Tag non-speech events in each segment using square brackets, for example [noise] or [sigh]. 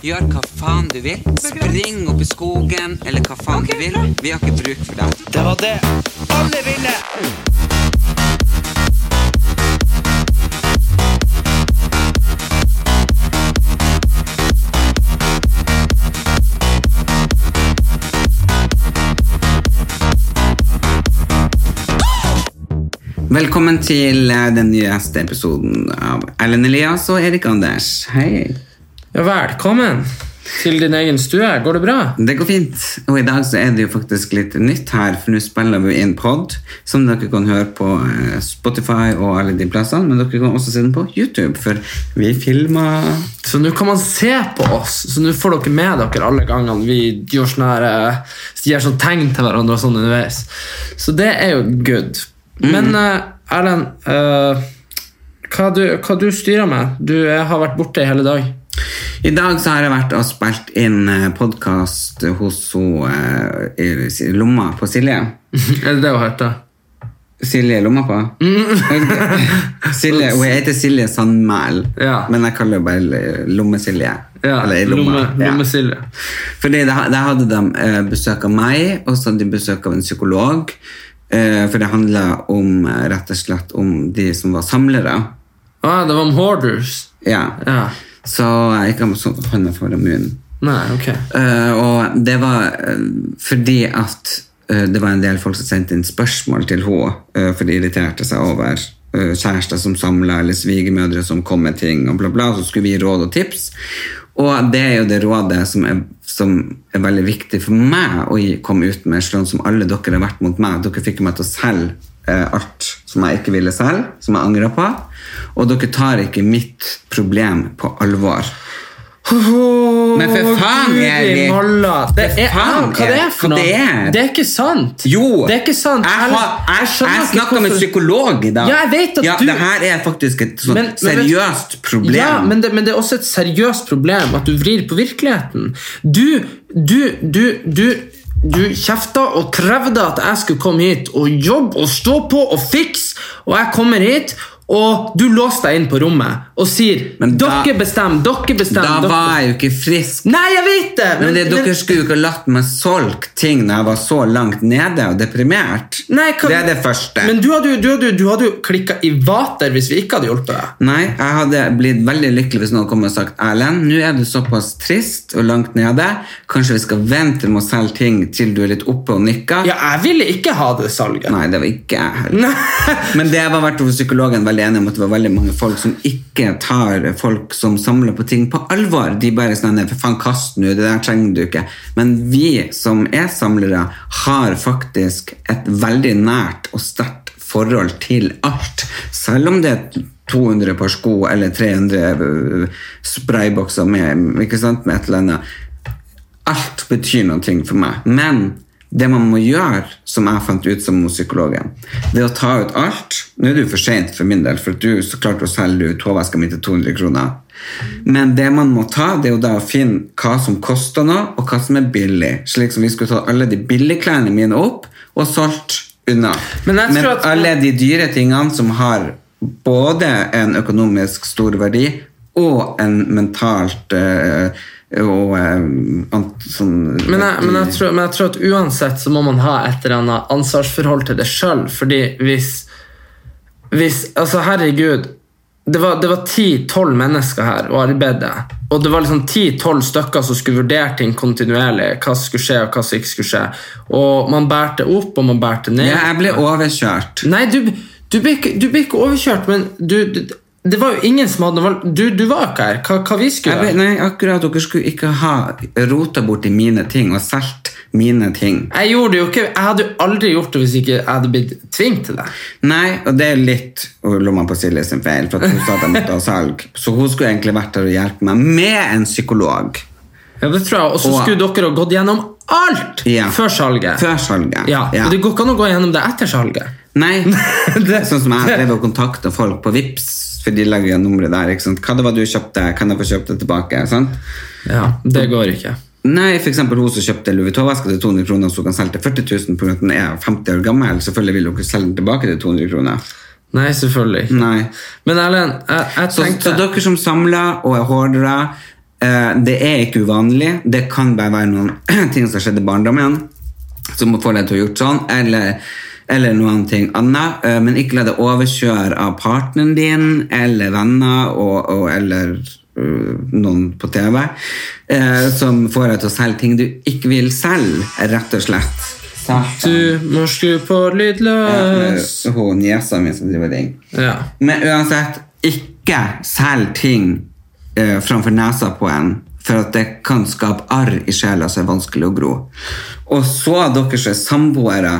Gjør hva faen du vil. Spring opp i skogen, eller hva faen du vil. Vi har ikke bruk for deg. Det var det alle ville! Velkommen til eh, den nyeste episoden av Erlend Elias og Erik Anders. Hei. Ja, velkommen til din egen stue. Går det bra? Det går fint. Og i dag så er det jo faktisk litt nytt her, for nå spiller vi inn pod, som dere kan høre på eh, Spotify og alle de plassene, men dere kan også se den på YouTube, for vi filmer Så nå kan man se på oss, så nå får dere med dere alle gangene vi gjør sånne her, eh, gir sånn tegn til hverandre og sånn underveis. Så det er jo good. Men eh, Erlend, eh, hva, du, hva du styrer med? Du eh, har vært borte i hele dag. I dag så har jeg vært og spilt inn podkast hos hun eh, i Lomma på Silje. er det det hun heter? Silje Lomma på? [laughs] Silje, hun heter Silje Sandmæl, Mm. Ja. men jeg kaller henne bare Lomme-Silje. Ja, Eller Lomma. Lomme, Ja. Silje. Fordi der, der hadde de eh, besøk av meg, og så hadde de besøk av en psykolog. Eh, for det handla om, eh, rett og slett om de som var samlere. Ah, det var om hoarders. Ja. Ja. Så jeg ikke har med sånn hånda foran munnen. Nei, ok. Eh, og det var eh, fordi at eh, det var en del folk som sendte inn spørsmål til henne, eh, for de irriterte seg over eh, kjærester som samla, eller svigermødre som kom med ting, og bla, bla. Så skulle vi gi råd og tips. Og det er jo det rådet som er, som er veldig viktig for meg å gi- komme ut med, sånn som alle dere har vært mot meg. Dere fikk meg til å selge eh, alt som jeg ikke ville selge, som jeg angrer på. Og dere tar ikke mitt problem på alvor. Men for faen, Erik. Det For er, faen, hva det er Erik. Hva for noe? det er? er ikke sant. Jo! Det er ikke sant. Jeg, har, jeg, skjønner jeg ikke snakka med hvorfor- psykolog i dag. Ja, jeg vet at ja, du- Det her er faktisk et sånt Men- men vet- seriøst problem. Ja, men det, men det er også et seriøst problem at du vrir på virkeligheten. Du, du, du, du du kjefta og krevde at jeg skulle komme hit og jobbe og stå på og fikse, og jeg kommer hit, og du låser deg inn på rommet og sier Men da- Dere bestemmer, dere da bestemmer. var dere. jeg jo ikke frisk. Nei, jeg vet det! Men det, Dere skulle jo ikke ha latt meg solge ting når jeg var så langt nede og deprimert. Nei, hva- Det er det første. Men du hadde jo, du hadde jo, du hadde jo klikka i vater hvis vi ikke hadde hjulpet deg. Nei, jeg hadde blitt veldig lykkelig hvis noen kom og sagt Erlend, nå er du såpass trist og langt nede. Kanskje vi skal vente med å selge ting til du er litt oppe og nikker? Ja, jeg ville ikke ha det salget. Nei, det var ikke jeg heller. [laughs] Nei. [laughs] Men det var vært over psykologen veldig enig om at det var veldig mange folk som ikke tar folk som samler på ting på alvor. De bare sånn «Nei, for faen, kast nå, det der trenger du ikke. Men vi som er samlere, har faktisk et veldig nært og sterkt forhold til alt. Selv om det er 200 par sko eller 300 spraybokser med, ikke sant, med et eller annet. Alt betyr noe for meg. Men det man må gjøre, som jeg fant ut som hos psykologen, det er å ta ut alt. Nå er det jo for sent for min del, for du så klarte å selge ut hårveska mi til 200 kroner. Men det man må ta, det er jo da å finne hva som koster noe, og hva som er billig. Slik som vi skulle ta alle de billige klærne mine opp og solgt unna. Men jeg tror at- alle de dyre tingene som har både en økonomisk stor verdi og en mentalt eh, og eh, ant, sånn, Men jeg, men, jeg tror, men jeg tror at uansett så må man ha et eller annet ansvarsforhold til det sjøl. Fordi hvis, hvis Altså, herregud. Det var, det var 10-12 mennesker her og arbeidet. Og det var liksom 10-12 stykker som skulle vurdere ting kontinuerlig. Hva som skulle skje, og hva som ikke skulle skje. Og man bærte opp, og man bærte ned. ja, jeg ble overkjørt. Nei, du, du, ble ikke, du ble ikke overkjørt, men du, du, det var jo ingen som hadde valgt Du, du var ikke her. Hva, hva vi skulle Jeg ble, gjøre? nei, akkurat dere skulle ikke ha rota bort i mine ting og solgt mine ting. Jeg gjorde det jo ikke, jeg hadde jo aldri gjort det hvis ikke jeg hadde blitt tvunget til det. Nei, og det er litt lomma på Silje sin feil, for at hun sa at jeg måtte ha salg. Så hun skulle egentlig vært der og hjulpet meg med en psykolog. Ja, det tror jeg. Og så Og- skulle dere ha gått gjennom alt Ja. før salget. Før salget. Ja. Ja. og Det går ikke an å gå gjennom det etter salget. Nei. det, sånn som jeg har drevet og kontakta folk på Vips for de legger jo nummeret der. Ikke sant? Hva det var du kjøpte? Kan jeg få kjøpt det tilbake? Sant? Ja, Det går ikke. Nei, for eksempel hun som kjøpte Louis Vuitton-veska til 200 kroner, så hun kan selge til 40 000 pga. at den er 50 år gammel. Selvfølgelig vil hun ikke selge den tilbake til 200 kroner. Nei, selvfølgelig ikke. Nei. Men Erlend, jeg, jeg Så, tenkte så dere som samler og er hoardere, eh, det er ikke uvanlig. Det kan bare være noen [clears throat] ting som skjedde i barndommen som får deg til å gjøre sånn, eller, eller noen ting annet. Eh, men ikke la deg overkjøre av partneren din eller venner og, og, eller eh, noen på TV eh, som får deg til å selge ting du ikke vil selge, rett og slett. Du må skru på Eh, lydløs. Hun niesa mi som driver og ringer. Ja. Men uansett, ikke selg ting eh, framfor nesa på en, for at det kan skape arr i sjela som er vanskelig å gro. Og så dere som er samboere,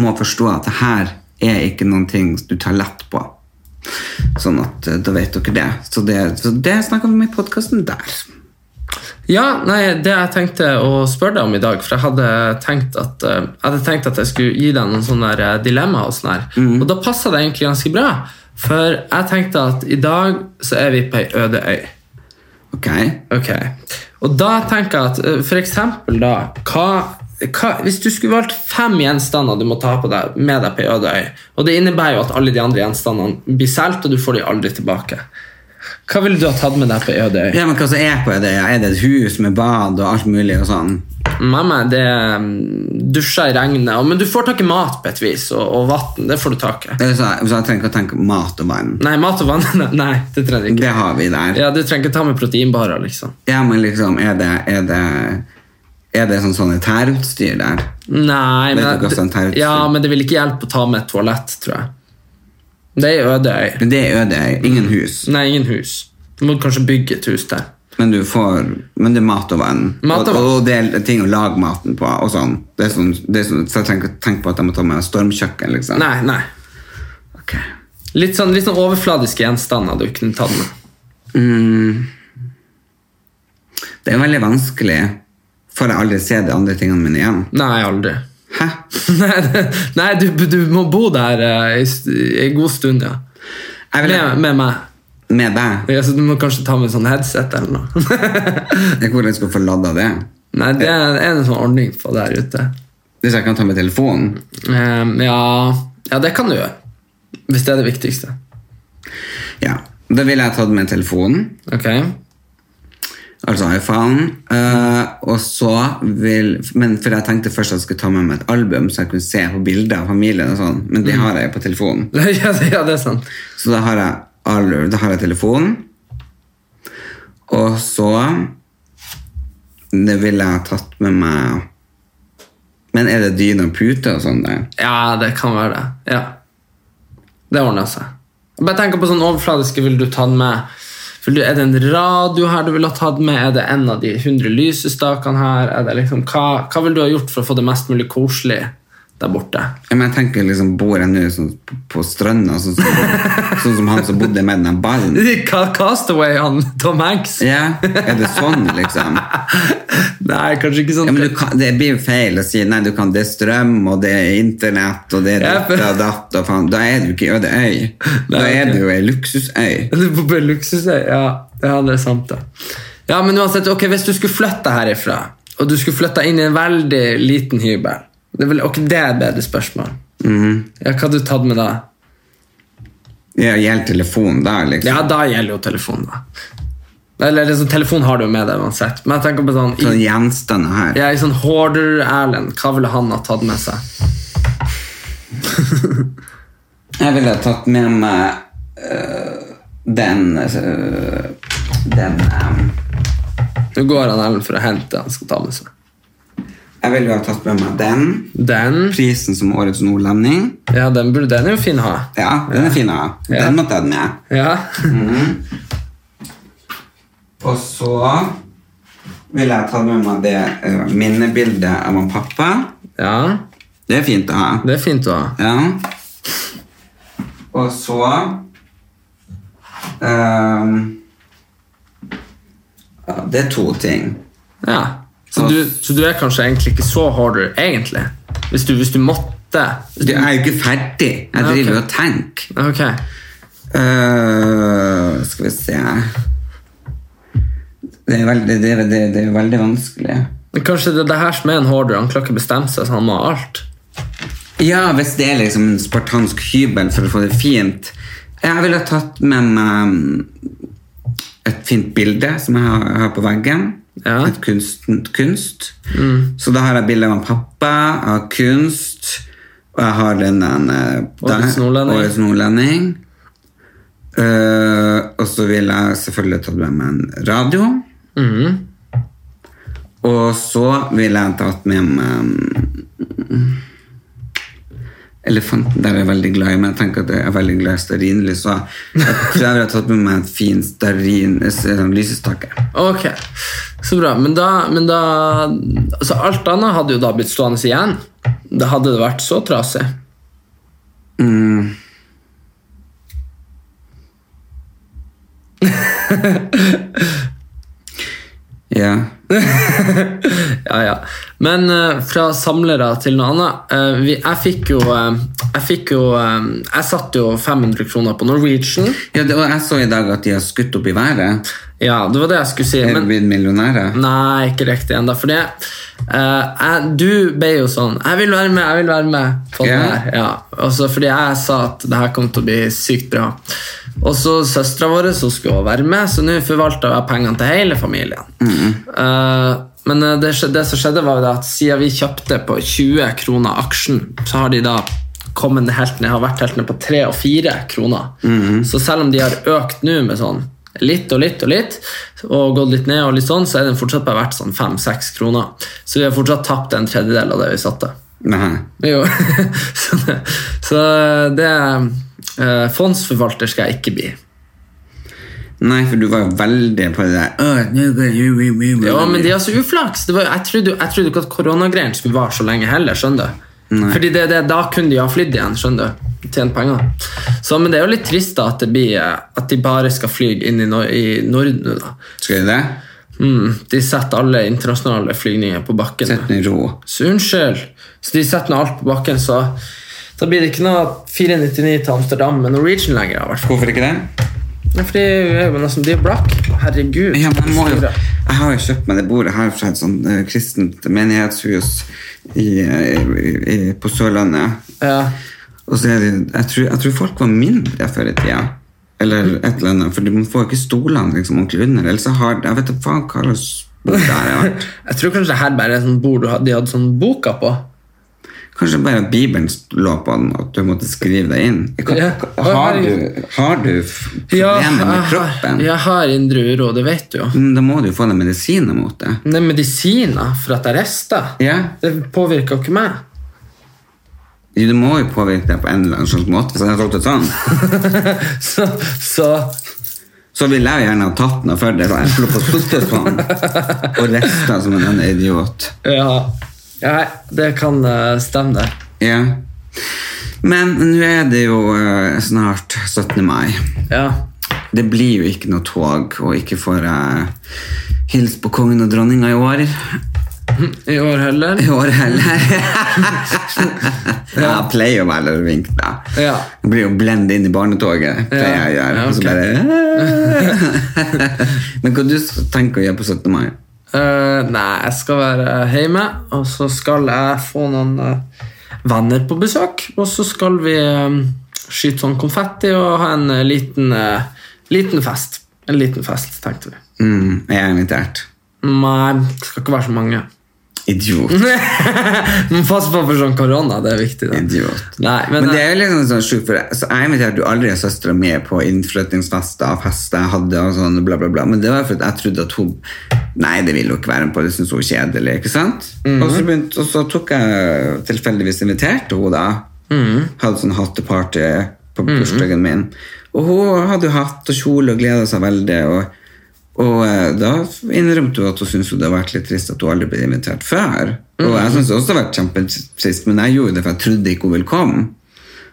må forstå at det her er ikke noen ting du tar lett på. Sånn at eh, da vet dere det. Så det, så det snakker vi om i podkasten der. ja, nei, det jeg tenkte å spørre deg om i dag For jeg hadde tenkt at eh, Jeg hadde tenkt at jeg skulle gi deg noen sånne der, eh, dilemma og sånn her. Og da passa det egentlig ganske bra. For jeg tenkte at i dag så er vi på ei øde øy. Ok? Ok. Og da tenker jeg at eh, for eksempel da hva, hva, Hvis du skulle valgt fem gjenstander du må ta på deg, med deg på ei øde øy, og det innebærer jo at alle de andre gjenstandene blir solgt, og du får de aldri tilbake, hva ville du ha tatt med deg på ei øde øy? Ja, men hva som er på det? Er det et hus med bad og alt mulig og sånn? Mamma, det er mm, dusjer i regnet, og- men du får tak i mat på et vis, og, og vann. Det får du tak i. Eller Så, så jeg trenger ikke å tenke mat og vann. Nei, mat og vann [laughs] Nei, det trenger du ikke. Det har vi der. Ja, Du trenger ikke ta med proteinbarer, liksom. Ja, men liksom, er det, er det, er det sånn sanitærutstyr der? Nei, Vet men, du hva som tar ut- ja, men det vil ikke hjelpe å ta med et toalett, tror jeg. Det er ei øde øy. Men Det er øde, ingen hus, Nei, ingen hus. Du må kanskje bygge et hus der. men du får Men det er mat og vann. Mat og vann. og, og det er ting å lage maten på. og sånn. Det er sånn, det er sånn så jeg trenger ikke tenke på at jeg må ta med stormkjøkken. liksom. Nei, nei. Ok. Litt sånn, litt sånn overfladiske gjenstander du kunne tatt med. Det er veldig vanskelig. Får jeg aldri se de andre tingene mine igjen? Nei, aldri. [laughs] Hæ? Nei, det- nei du, du må bo der eh, i st- i en god stund, ja. Jeg vil, Med, med meg. med deg? Ja, så du må kanskje ta med sånn headset eller noe. [laughs] Jeg hvordan skal jeg få lada det? Nei, det er er en sånn ordning på der ute. Hvis jeg kan ta med telefonen? Ehm, ja, ja, det kan du gjøre. Hvis det er det viktigste. Ja. Da ville jeg tatt med telefonen. Ok? [laughs] Altså iPhone. eh, og så vil Men for jeg tenkte først at jeg skulle ta med meg et album, så jeg kunne se på bilder av familien og sånn, men det har jeg jo på telefonen. Ja, det- ja, det er sant. Så da har jeg, all- da har jeg telefonen. Og så Det ville jeg tatt med meg Men er det dyne og pute og sånn der? Ja, det kan være det. Ja. Det ordner seg. Bare tenk på sånn overfladiske vil du ta den med. Vil du, er det en radio her du ville ha tatt med? Er det en av de 100 lysestakene her? Er det liksom, hva, hva vil du ha gjort for å få det mest mulig koselig der borte? Ja, men jeg tenker liksom, Bor jeg nå sånn på- på stranda, sånn, som- sånn som han som bodde med den ballen? Hva [laughs] Castaway, han Tom Hanks? Ja, Er det sånn, liksom? Nei, kanskje ikke sånn. Ja, men [laughs] du kan, det blir jo feil å si nei, du kan, det er strøm, og det er internett, og det er Ja, for- datt og datt, og faen. Da er du ikke i Øde øy. Da Nei, er ok. du jo ei luksusøy. Du bor på en luksusøy, ja. Ja, det er sant, det. Ja, men uansett, ok, Hvis du skulle flytte herifra, og du skulle flytte inn i en veldig liten hybel det er vel, Ok, det er et bedre spørsmål. Ja, Hva hadde du tatt med da? Ja, Gjelder telefonen da, liksom? Ja, da gjelder jo telefonen, da. Eller liksom, telefon har du jo med deg uansett. Men jeg tenker på sånn Sånne i, gjenstander her. ja, i sånn hoarder Erlend, hva ville han ha tatt med seg? Jeg ville ha tatt med meg øh, den øh, Den øh, Nå går han Erlend for å hente det han skal ta med seg. Jeg ville ha tatt med meg den. Den Prisen som Årets nordlending. ja, den, burde, den er jo fin å ha. Ja, den er fin å ha. Ja. Den måtte jeg ha med. Ja. [laughs] Og så ville jeg tatt med meg det eh, minnebildet av han pappa. ja, Det er fint å ha. det er fint å ha. Ja. Og så ehm, ja, Det er to ting. Ja. Så, du, så du er kanskje egentlig ikke så hoarder, egentlig? Hvis du, hvis du måtte? Hvis du, Jeg er jo ikke ferdig. Jeg ok. driver jo og tenker. ok. Øh, skal vi se Det er veldig, det er, det er, det er veldig vanskelig. Men kanskje det er det her som er en hoarder? Han klarer ikke bestemme seg, så han må ha alt? Ja, hvis det er liksom en spartansk hybel for å få det fint Jeg ville tatt med meg mm, et fint bilde som jeg har, har på veggen. Ja. Et kunst. kunst. Så da har jeg bilde av en pappa, jeg har kunst, og jeg har eh, den der Årets nordlending. Årets nordlending. Eh, og så vil jeg selvfølgelig ta med meg en radio. Og så vil jeg tatt med meg mm, Elefanten der er jeg veldig glad i, men jeg tenker at jeg er veldig glad i stearinlys. Så jeg tror jeg ville tatt med meg en fin stearin eh, sånn lysestake. Ok, så bra. Men da, men da altså Alt annet hadde jo da blitt stående igjen. Da hadde det vært så trasig. Ja. Ja, ja. Men eh, fra samlere til noe annet. eh, vi, jeg fikk jo eh, Jeg fikk jo eh, Jeg satt jo 500 kroner på Norwegian. ja det, og jeg så i dag at de har skutt opp i været. Ja, det var det jeg skulle si. Er de Men, Mm. blitt millionærer? nei, ikke riktig ennå. For det eh, jeg, Du ble jo sånn 'Jeg vil være med, jeg vil være med' på det Ja. her. Ja. Også fordi jeg sa at det her kom til å bli sykt bra. Og så søstera vår så skulle hun være med, så nå forvalta jeg pengene til hele familien. Eh, men eh, det, skje- det som skjedde, var jo det at siden vi kjøpte på 20 kroner aksjen, så har de da kommet ned helt ned, har vært helt ned på 3 og 4 kroner. Så selv om de har økt nå med sånn litt og litt og litt, og gått litt ned og litt sånn, så er den fortsatt bare verdt sånn 5-6 kroner. Så vi har fortsatt tapt en tredjedel av det vi satte. Nei. Jo. [laughs] så, det- så det eh, Fondsforvalter skal jeg ikke bli. Nei, for du var jo veldig på det der «Åh, nå går jeg- ui, ui, ui». Ja, men de har så uflaks. Det var, jeg, trodde, jeg trodde ikke at koronagreiene skulle vare så lenge heller. skjønner du? Fordi det, det, Da kunne de ha flydd igjen. skjønner du? Tjent penger. Så, men det er jo litt trist da at, det blir, eh, at de bare skal fly inn i, Nor- i Norden. nå, da. Skal du det? Mm, de setter alle internasjonale flygninger på bakken. Sett den i ro. Så unnskyld. Så de setter nå alt på bakken, så da blir det ikke noe 499 til Amsterdam med Norwegian lenger. da, i hvert fall. Hvorfor ikke det? Nei, For de er jo nesten de er blakk. Herregud. Ja, men jeg, må jo, jeg har jo kjøpt meg det bordet her fra et sånt eh, kristent menighetshus i, eh, i, i, på Sørlandet. Ja. Og så er det, jeg, tror, jeg tror folk var mindre før i tida. Eller et eller annet, for man får jo ikke stolene liksom, ordentlig under. Eller så har Jeg vet da faen hva slags bord det her har vært. Jeg tror kanskje det her bare er sånn bord du hadde, de hadde sånn boka på. Kanskje bare at Bibelen lå på den, at du måtte skrive deg inn. Kan, Ja. har, du, har du f- problemer med kroppen, jeg har indre uro, det vet du jo. Mm, da må du jo få deg medisiner mot det. Men Det er medisiner for at jeg rister. Ja. Det påvirker jo ikke meg. [laughs] Jo, Det må jo påvirke deg på en eller annen slags måte. Så, jeg har tatt det sånn. Så, så så vil jeg jo gjerne ha tatt noe for det. Så jeg slo på spyttespann og rista som en annen idiot. ja. ja, det kan eh, stemme, det. Ja. Men nå er det jo eh, snart 17. mai. Ja. Det blir jo ikke noe tog, og ikke får jeg hilse på kongen og dronninga i år. I år heller. [laughs] I år [laughs] heller. ja, jeg pleier å være litt vink, da. Ja. Jeg blir jo blendet inn i barnetoget. pleier jeg å gjøre. Ja, og så ok. [laughs] bare... [laughs] Men hva du tenker å gjøre på 17. mai? Eh, nei, jeg skal være hjemme, og så skal jeg få noen eh, venner på besøk. Og så skal vi eh, skyte sånn konfetti og ha en eh, liten, eh, liten fest. En liten fest, tenkte vi. Mm, jeg er invitert. Nei, det skal ikke være så mange. Idiot. eh, Men pass på for sånn korona, det er viktig. Det. Idiot. Nei, men, Men det er jo liksom sånn sjukt, for jeg- så jeg inviterte jo aldri søstera mi på innflyttingsfester og fester jeg hadde og sånn, bla, bla, bla. Men det var fordi jeg trodde at hun Nei, det ville hun ikke være med på, det syntes hun var kjedelig. ikke sant? og, så begynte, og så tok jeg tilfeldigvis inviterte hun da. Hadde sånn hatteparty på bursdagen min. Og hun hadde jo hatt og kjole og gleda seg veldig. og og eh, da innrømte hun at hun syntes jo det har vært litt trist at hun aldri ble invitert før. Og Mm. jeg syntes også det har vært kjempetrist, men jeg gjorde det for jeg trodde ikke hun ville komme.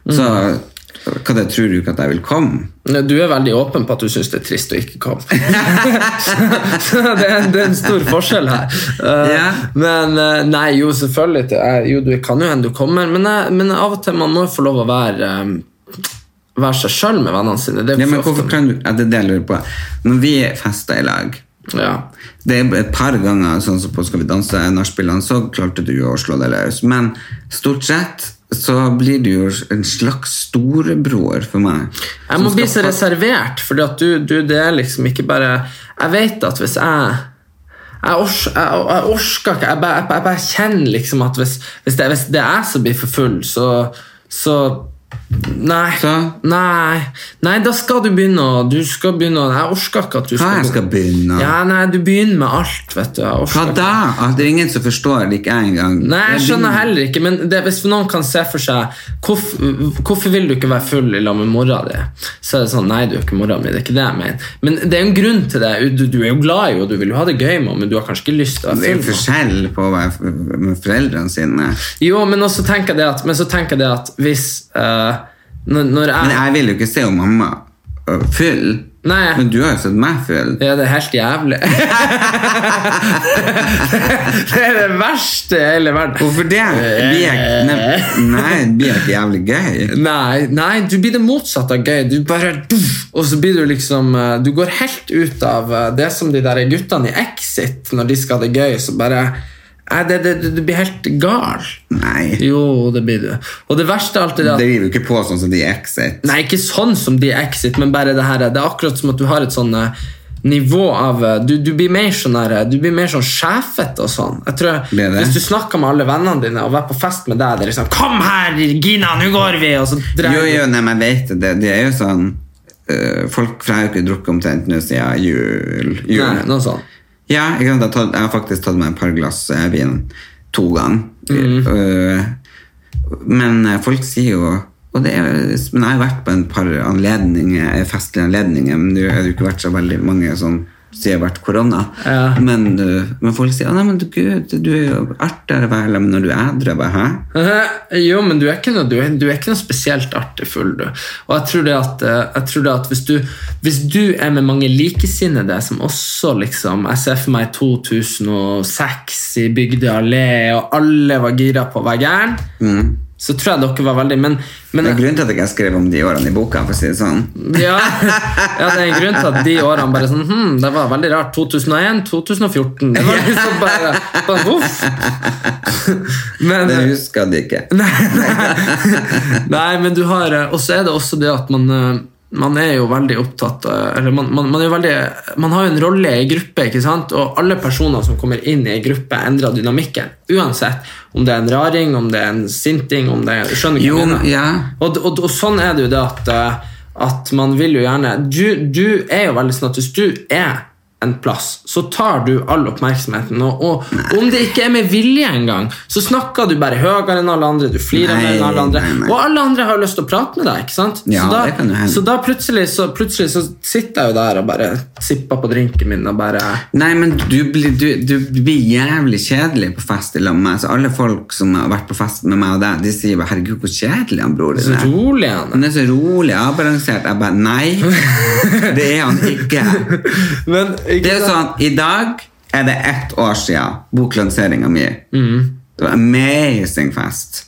Så Hva det, tror du ikke at jeg vil komme? Du er veldig åpen på at du syns det er trist å ikke [laughs] komme. så det er, det er en stor forskjell her. Eh, Ja. Men eh, nei, jo, selvfølgelig. det er- jo, du kan jo hende du kommer, men, jeg, men av og til man må jo få lov å være eh, Være seg sjøl med vennene sine. Det er Ja, men for ofte- hvorfor kan du, ja, det er det jeg lurer på. Når vi fester i lag, ja. det er et par ganger sånn som på Skal vi danse nachspielene, så klarte du jo å slå deg løs. Men stort sett så blir du jo en slags storebror for meg. Jeg må bli så reservert, fordi at du, du Det er liksom ikke bare Jeg vet at hvis jeg jeg, ors, jeg, jeg orsker ikke jeg bare, jeg, bare- jeg bare kjenner liksom at hvis, hvis, det, hvis det er jeg som blir for full, så, så Nei. Så? Nei, Nei, da skal du begynne å Du skal begynne å Jeg orsker ikke at du Hva jeg skal begynne? Ja, nei, Du begynner med alt, vet du. Jeg orker Hva ikke. da? At det er ingen som forstår det, ikke jeg engang. Nei, jeg Det er skjønner din- heller ikke, men det, hvis noen kan se for seg hvorfor, hvorfor vil du ikke være full i lag med mora di? Så er det sånn Nei, du er ikke mora mi. Det er ikke det jeg mener. Men det er jo en grunn til det. Du, du er jo glad i henne, og du vil jo ha det gøy med henne, men du har kanskje ikke lyst til å Det er være jo full. med forskjell henne. på å være f- med foreldrene sine. Jo, men, også tenker jeg det at, men så tenker jeg det at hvis eh, når, når Men jeg jeg vil jo ikke se om mamma øh, full. Nei. Men du har jo sett meg full. Ja, det er helt jævlig. [laughs] det er det verste i hele verden. Hvorfor det? Blir jeg, nei, nei, blir jeg ikke jævlig gøy? Nei, nei, du blir det motsatte av gøy. Du bare duff, Og så blir du liksom eh, Du går helt ut av eh, det som de der guttene i Exit, når de skal ha det gøy, så bare Nei, det, det, det, du blir helt gal. Nei. Jo, det blir du. Og det verste er alltid det Det at driver jo ikke på sånn som de i Exit. Nei, ikke sånn som de i Exit, men bare det her Det er akkurat som at du har et sånn eh, nivå av eh, Du, du blir mer sånn her, eh, Du blir mer sånn sjefete og sånn. Jeg tror Blir det? Hvis du snakker med alle vennene dine og er på fest med deg, det er liksom 'Kom her, Gina, nå går vi!' Og så drar Jo, du- jo, nei, men jeg vet det. Det er jo sånn øh, Folk for jeg har jo ikke drukket omtrent nå siden jul. jul. Nei, noe sånt. Ja, ikke sant? Jeg, har tatt, jeg har faktisk tatt meg et par glass eh, vin to ganger. Mm. Øh, men eh, folk sier jo og det er, Men jeg har vært på en par anledninger, eh, festlige anledninger, men det har jo ikke vært så veldig mange sånn siden det har vært korona. Ja. Men, eh, men folk sier «Å, nei, men du, gud, du er jo artigere å være sammen når du er edru. Jeg bare, Hæ? Eh, Jo, men du er ikke noe, du er, du er ikke noe spesielt artig full, du. Og jeg tror det at, eh, jeg tror det at hvis, du, hvis du er med mange likesinnede som også liksom Jeg ser for meg 2006 i Bygdøy allé, og alle var gira på å være gæren. Så tror jeg dere var veldig Men, men Det er grunnen til at jeg ikke skrev om de årene i boka, for å si det sånn. ja, ja, det er en grunn til at de årene bare sånn hm, Det var veldig rart. 2001, 2014 Det var liksom bare, bare voff. Men, Det husker de ikke. [laughs] Nei, men du har eh, Og så er det også det at man eh, man er jo veldig opptatt eh, eller man, man, man, er jo veldig, man har jo en rolle i gruppe, ikke sant? og alle personer som kommer inn i en gruppe, endrer dynamikken. Uansett om det er en raring, om det er en sinting om det er, skjønner du hva Jo, jeg mener? ja. og, og, og sånn er det jo det at, eh, at man vil jo gjerne du, du er jo veldig sånn at hvis du er en plass, så tar du all oppmerksomheten. Og, og om det ikke er med vilje engang, så snakker du bare høyere enn alle andre. Du flirer Nei, mer enn alle andre. nei, nei. Og alle andre har lyst til å prate med deg, ikke sant? Ja, så da, det kan jo hende. Så da plutselig så, plutselig så sitter jeg jo der og bare sipper på drinken min og bare Nei, men du blir, du, du blir jævlig kjedelig på fest i lag med meg. Så alle folk som har vært på fest med meg og deg, de sier bare 'herregud, hvor kjedelig han bror din Så er'. rolig er han. Han er så rolig avbalansert. Jeg bare nei, det er han [laughs] ikke. Men Det ikke er jo sånn, I dag er det ett år siden boklanseringa mi. Det var amazing fest.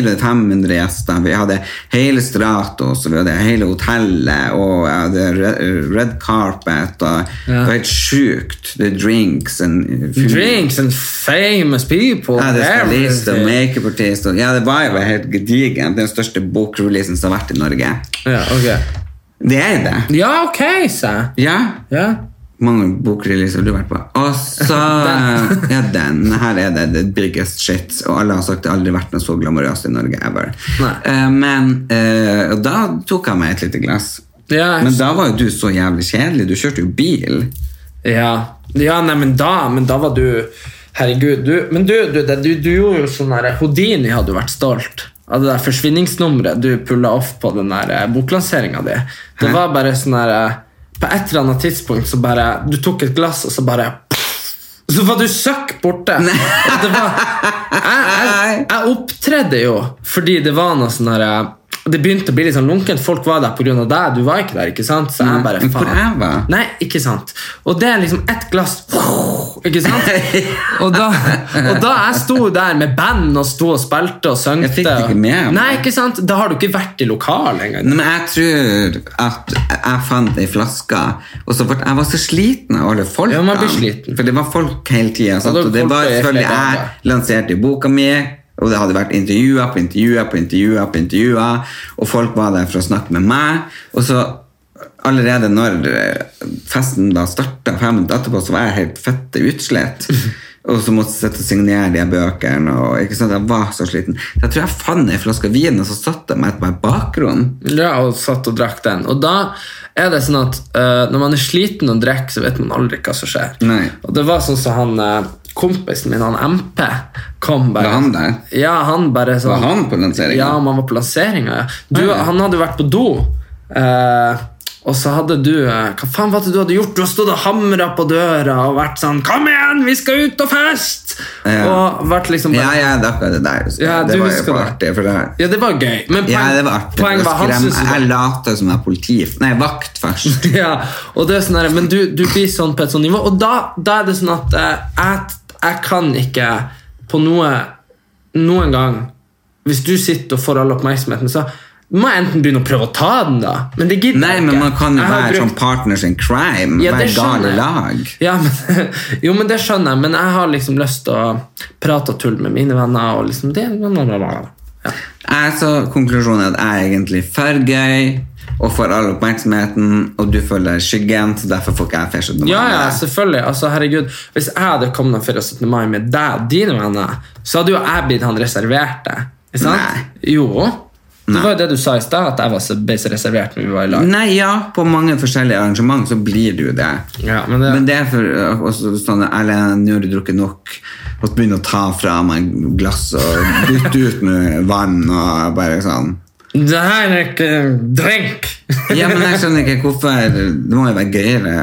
400-500 gjester. Vi hadde hele Stratos, og vi hadde hele hotellet, og jeg hadde re- red carpet. Og Det var helt sjukt. Det er drinks and food. Drinks and famous people. Ja, det er stylist og everything. makeupartist. og- Ja, det var jo helt gedigent. Den største bokreleasen som har vært i Norge. ja, ok. Det er det. Ja, ok, sa jeg. Ja, Ja. mange bokreleaser har du vært på. Og så Ja, den. Her er det the biggest shit. Og alle har sagt det har aldri vært noe så glamorøst i Norge ever. Nei. Eh, men eh, og da tok jeg meg et lite glass. Ja, jeg Men da var jo du så jævlig kjedelig. Du kjørte jo bil. Ja, ja nei, men da, men da var du Herregud, du Men du, du, det- du, du gjorde jo sånn der Houdini hadde jo vært stolt av det der forsvinningsnummeret du pulla off på den der boklanseringa di. Det var bare sånn der eh, På et eller annet tidspunkt så bare Du tok et glass, og så bare så var du søkk borte! Og Det var, jeg, jeg, jeg opptredde jo fordi det var noe sånn herre Det begynte å bli litt sånn lunkent. Folk var der pga. deg, du var ikke der. ikke sant? Så jeg bare, Mm. Men hvor faen. jeg var? Nei, ikke sant. Og det er liksom ett glass [laughs] Ikke sant? Og da, og da jeg sto der med band og sto og spilte og søngte Jeg fikk det ikke med meg. Nei, ikke sant? Da har du ikke vært i lokalet engang. Nei, men jeg tror at jeg fant ei flaske, og så ble jeg var så sliten av alle folkene. Ja, man blir sliten. For det var folk hele tida. Ja, det var Og det folk var på selvfølgelig flere dager. jeg lanserte boka mi, og det hadde vært intervjuer på intervjuer på intervjuer, på intervjuer og folk var der for å snakke med meg. Og så allerede når eh, festen da starta fem minutter etterpå, så var jeg helt fette utslett. [laughs] Og så måtte jeg sitte og signere de her bøkene. Og, ikke sant? Jeg var så sliten. Så jeg tror jeg fant ei flaske vin, og så satte jeg meg på et bakrom. Ja, og satt og drakk den. Og da er det sånn at eh, når man er sliten og drikker, så vet man aldri hva som skjer. Nei. Og det var sånn som han eh, kompisen min, han MP, kom bare Var han der? Ja, han bare sånn Var han Ah, på lanseringen? Ja, man var på lanseringa, ja. Du, Nei. han hadde vært på do. eh, og så hadde du eh, Hva faen var det du hadde gjort? Du har stått og hamra på døra og vært sånn Kom igjen, vi skal ut og fest! Ja. Og vært liksom Ja, ja, det er akkurat det der. Ja, det du var husker jo bare det. artig. For det her. Ja, det var gøy. Men Ja, poeng- det var artig. poenget var, han Skremme. syntes jo det- jeg later som jeg er politi. Nei, vakt [laughs] først. Ja, og det er sånn her, men du, du blir sånn på et sånt nivå, og da, da er det sånn at eh, jeg, jeg kan ikke på noe noen gang, hvis du sitter og får all oppmerksomheten, så må jeg enten begynne å prøve å ta den da, men det gidder Nei, jeg ikke. men man kan jo Jeg har være brukt- sånn partners in crime. Ja, det være gal i skjønner jeg. lag. Ja, men, [laughs] jo, men det skjønner jeg, men jeg har liksom lyst til å prate og tulle med mine venner, og liksom det, ja. Jeg så konklusjonen er at jeg er egentlig for gøy og får all oppmerksomheten, og du føler deg i skyggen, så derfor får ikke jeg ferskt noe Ja, med ja, det. selvfølgelig. Altså, herregud, Hvis jeg hadde kommet den 17. mai med deg og dine venner, så hadde jo jeg blitt han reserverte. Ikke sant? Jo. Det var jo det du sa i stad, at jeg var så ble så reservert når vi var i lag. Nei, ja, på mange forskjellige arrangement så blir du det. Ja, men det, Men det er for øh, også sånn Erlend, nå har du drukket nok. Og så begynner å ta fra meg glass og bytte ut med vann og bare sånn. det her er ikke drink! [laughs] Ja, men jeg skjønner ikke hvorfor Det må jo være gøyere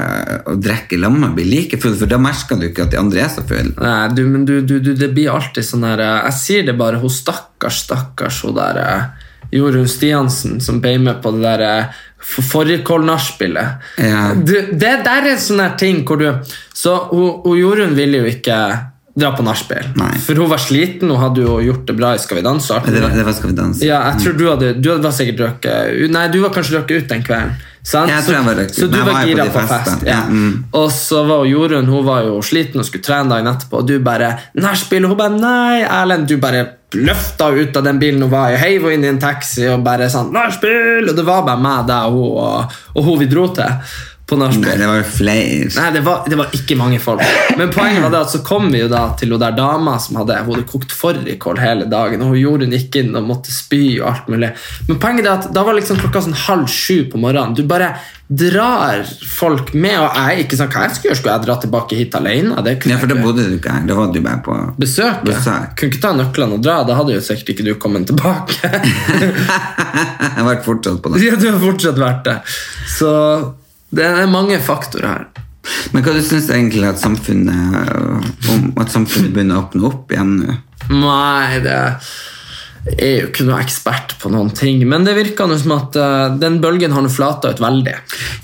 å drikke i lag med og bli like full, for da merker du ikke at de andre er så full. Nei, du, men du, du, du, det blir alltid sånn her eh, Jeg sier det bare, hun stakkars, stakkars, hun der eh, Jorunn Stiansen som ble med på det der eh, for- fårikål-nachspielet. Ja. Du, Det der er en sånn her ting hvor du Så hun, hun Jorunn ville jo ikke dra på nachspiel, Nei. for hun var sliten, hun hadde jo gjort det bra i Skal vi danse. Men Det var, det var Skal vi danse. Ja, jeg tror du hadde, du hadde var sikkert drukket ut- Nei, du var kanskje drukket ut den kvelden. sant? Jeg tror jeg var drukket ut, så, så du men jeg var var jo på gira de på festene. fest. Ja. Ja, mm. Og så var jo Jorunn hun var jo sliten og skulle trene dagen etterpå, og du bare 'Nachspiel', og hun bare 'Nei, Erlend'. Du bare løfta henne ut av den bilen hun var i, heiv henne inn i en taxi og bare sånn 'Nachspiel'! Og det var bare meg, deg og hun, og, og hun vi dro til på Nei, nachspiel. det var jo flere. Nei, det var, det var ikke mange folk. Men poenget var det at så kom vi jo da til hun der dama som hadde, hun hadde kokt fårikål hele dagen, og hun gjorde hun gikk inn og måtte spy og alt mulig. Men poenget er at da var liksom klokka sånn halv sju på morgenen. Du bare drar folk med, og jeg ikke sånn, hva jeg skulle gjøre, skulle jeg dra tilbake hit alene? Det kunne Ja, for da jeg ikke. bodde du ikke her. Da var du bare på Besøk, ja. Besøk. Kunne ikke ta nøklene og dra, da hadde jo sikkert ikke du kommet tilbake. [laughs] Jeg var fortsatt på det. ja, du har fortsatt vært det. Så det er mange faktorer her. Men hva du syns egentlig at samfunnet øh, om at samfunnet begynner å åpne opp igjen nå? Nei, det er jo ikke noe ekspert på noen ting. Men det virker nå som at eh, den bølgen har nå flata ut veldig.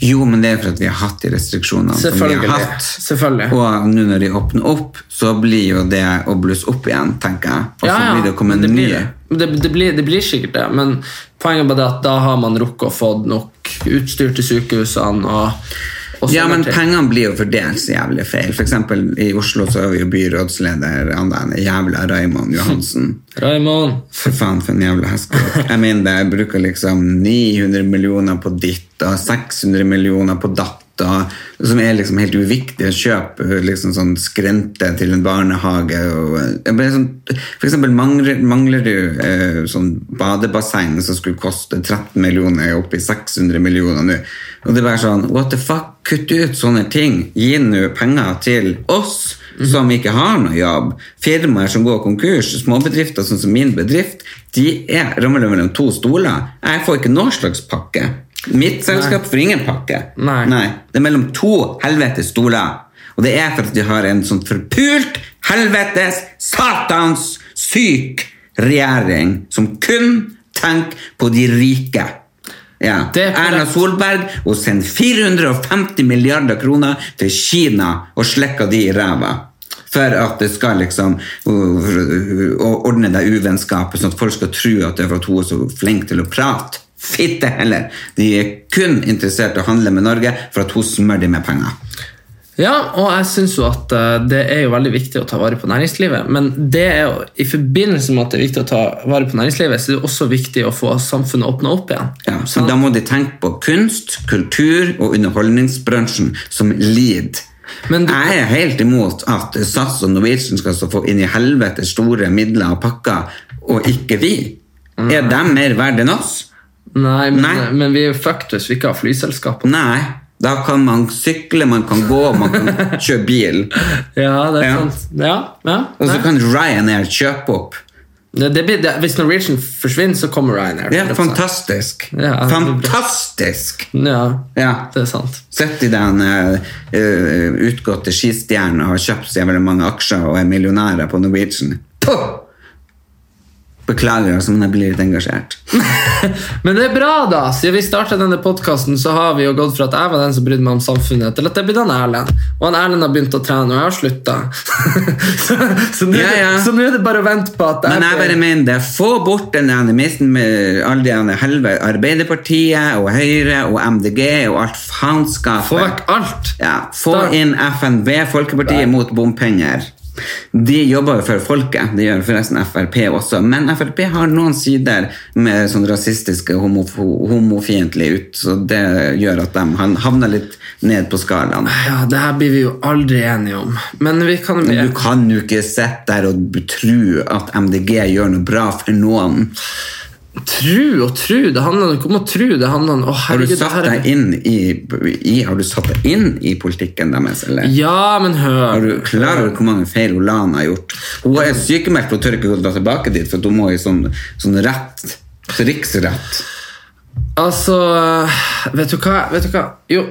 Jo, men det er for at vi har hatt de restriksjonene som vi har Selvfølgelig. hatt. Selvfølgelig. Og nå når de åpner opp, så blir jo det å blusse opp igjen, tenker jeg. Og så Ja, ja, blir det å komme en det ny. blir det. Men Det, det, blir, det blir sikkert det, men poenget er bare det at da har man rukket å få nok utstyr til sykehusene. og, og Ja, sånne men ting. pengene blir jo fordelt så jævlig feil. For eksempel i Oslo så er vi jo byrådsleder han der jævla Raymond Johansen. Raymond, For faen, for en jævla hestkåk. Jeg mener det, jeg bruker liksom 900 millioner på ditt og 600 millioner på datt. og- Som er liksom helt uviktige kjøp. Liksom sånn skrente til en barnehage. Og, jeg ble sånn, for eksempel mangler, mangler du eh, sånn badebasseng som skulle koste 13 millioner, er oppe i 600 millioner nå. Og det er bare sånn What the fuck? Kutt ut sånne ting. Gi nå penger til oss som ikke har noe jobb, firmaer som går konkurs, småbedrifter sånn som min bedrift, de er ramlet mellom to stoler. Jeg får ikke noen slags pakke. Mitt selskap får ingen pakke. Nei. Det er mellom to helvetes stoler. Og det er for at de har en sånn forpult, helvetes, satans, syk regjering som kun Tenk på de rike. Ja. Det er korrekt. Erna Solberg hun sender 450 milliarder kroner til Kina og slekker de i ræva. For at det skal liksom uh, uh, ordne det uvennskapet, sånn at folk skal tro at det er for at hun er så flink til å prate. Fitte heller! De er kun interessert i å handle med Norge for at hun smører dem med penger. Ja, og jeg syns jo at eh, det er jo veldig viktig å ta vare på næringslivet. Men det er jo, i forbindelse med at det er viktig å ta vare på næringslivet, så er det jo også viktig å få samfunnet åpna opp igjen. Sånn Ja, så da må de tenke på kunst, kultur og underholdningsbransjen som lid. Men du- jeg er helt imot at SAS og Norwegian skal så få inn i helvete store midler og pakker, og ikke vi. Er de mer verdt enn oss? Nei, men, Nei. men vi er jo fucked hvis vi ikke har flyselskap. Nei. Da kan man sykle, man kan gå, man [laughs] kan kjøre bil. Ja, det er Ja. sant. Ja, ja. Og så Nei. kan Ryanair kjøpe opp. Det, det blir, det, hvis Norwegian forsvinner, så kommer Ryanair. Det er fantastisk. Ja, det blir bra. Fantastisk! Ja, Ja. det er sant. Sett i den eh, eh, utgåtte skistjernen og har kjøpt så jævlig mange aksjer og er millionærer på Norwegian. Puh! Beklager, altså, men jeg blir litt engasjert. Men det er bra, da! Siden vi startet denne podcasten så har vi jo gått fra at jeg var den som brydde meg om samfunnet, til at det blir han Erlend. Og han Erlend har begynt å trene, og jeg har slutta. [laughs] så så nå er det- Ja, ja. så nå er det bare å vente på at Men jeg bare mener det. Få bort den animisten med alle de andre helvete Arbeiderpartiet og Høyre og MDG og alt faenskapet. Få vekk alt! Ja, få Da- inn FNB, Folkepartiet mot bompenger. De jobber jo for folket, det gjør forresten Frp også. Men Frp har noen sider med sånn rasistiske, homof homofiendtlige ut, så det gjør at de han- havner litt ned på skalaen. Ja, det her blir vi jo aldri enige om. Men vi kan bli Men du kan jo ikke sitte der og tro at MDG gjør noe bra for noen. Tru og tru, det handler ikke om å tru, det handler om å Har du herregud, det satt her er- deg inn i, i, har du satt deg inn i politikken deres, eller? Ja, men hør Er du klar over hvor mange feil Olana har gjort? Hun er sykemeldt og tør ikke gå tilbake dit, for at hun må i sånn, sånn rett. Riksrett. Altså, vet du hva? Vet du hva? Jo.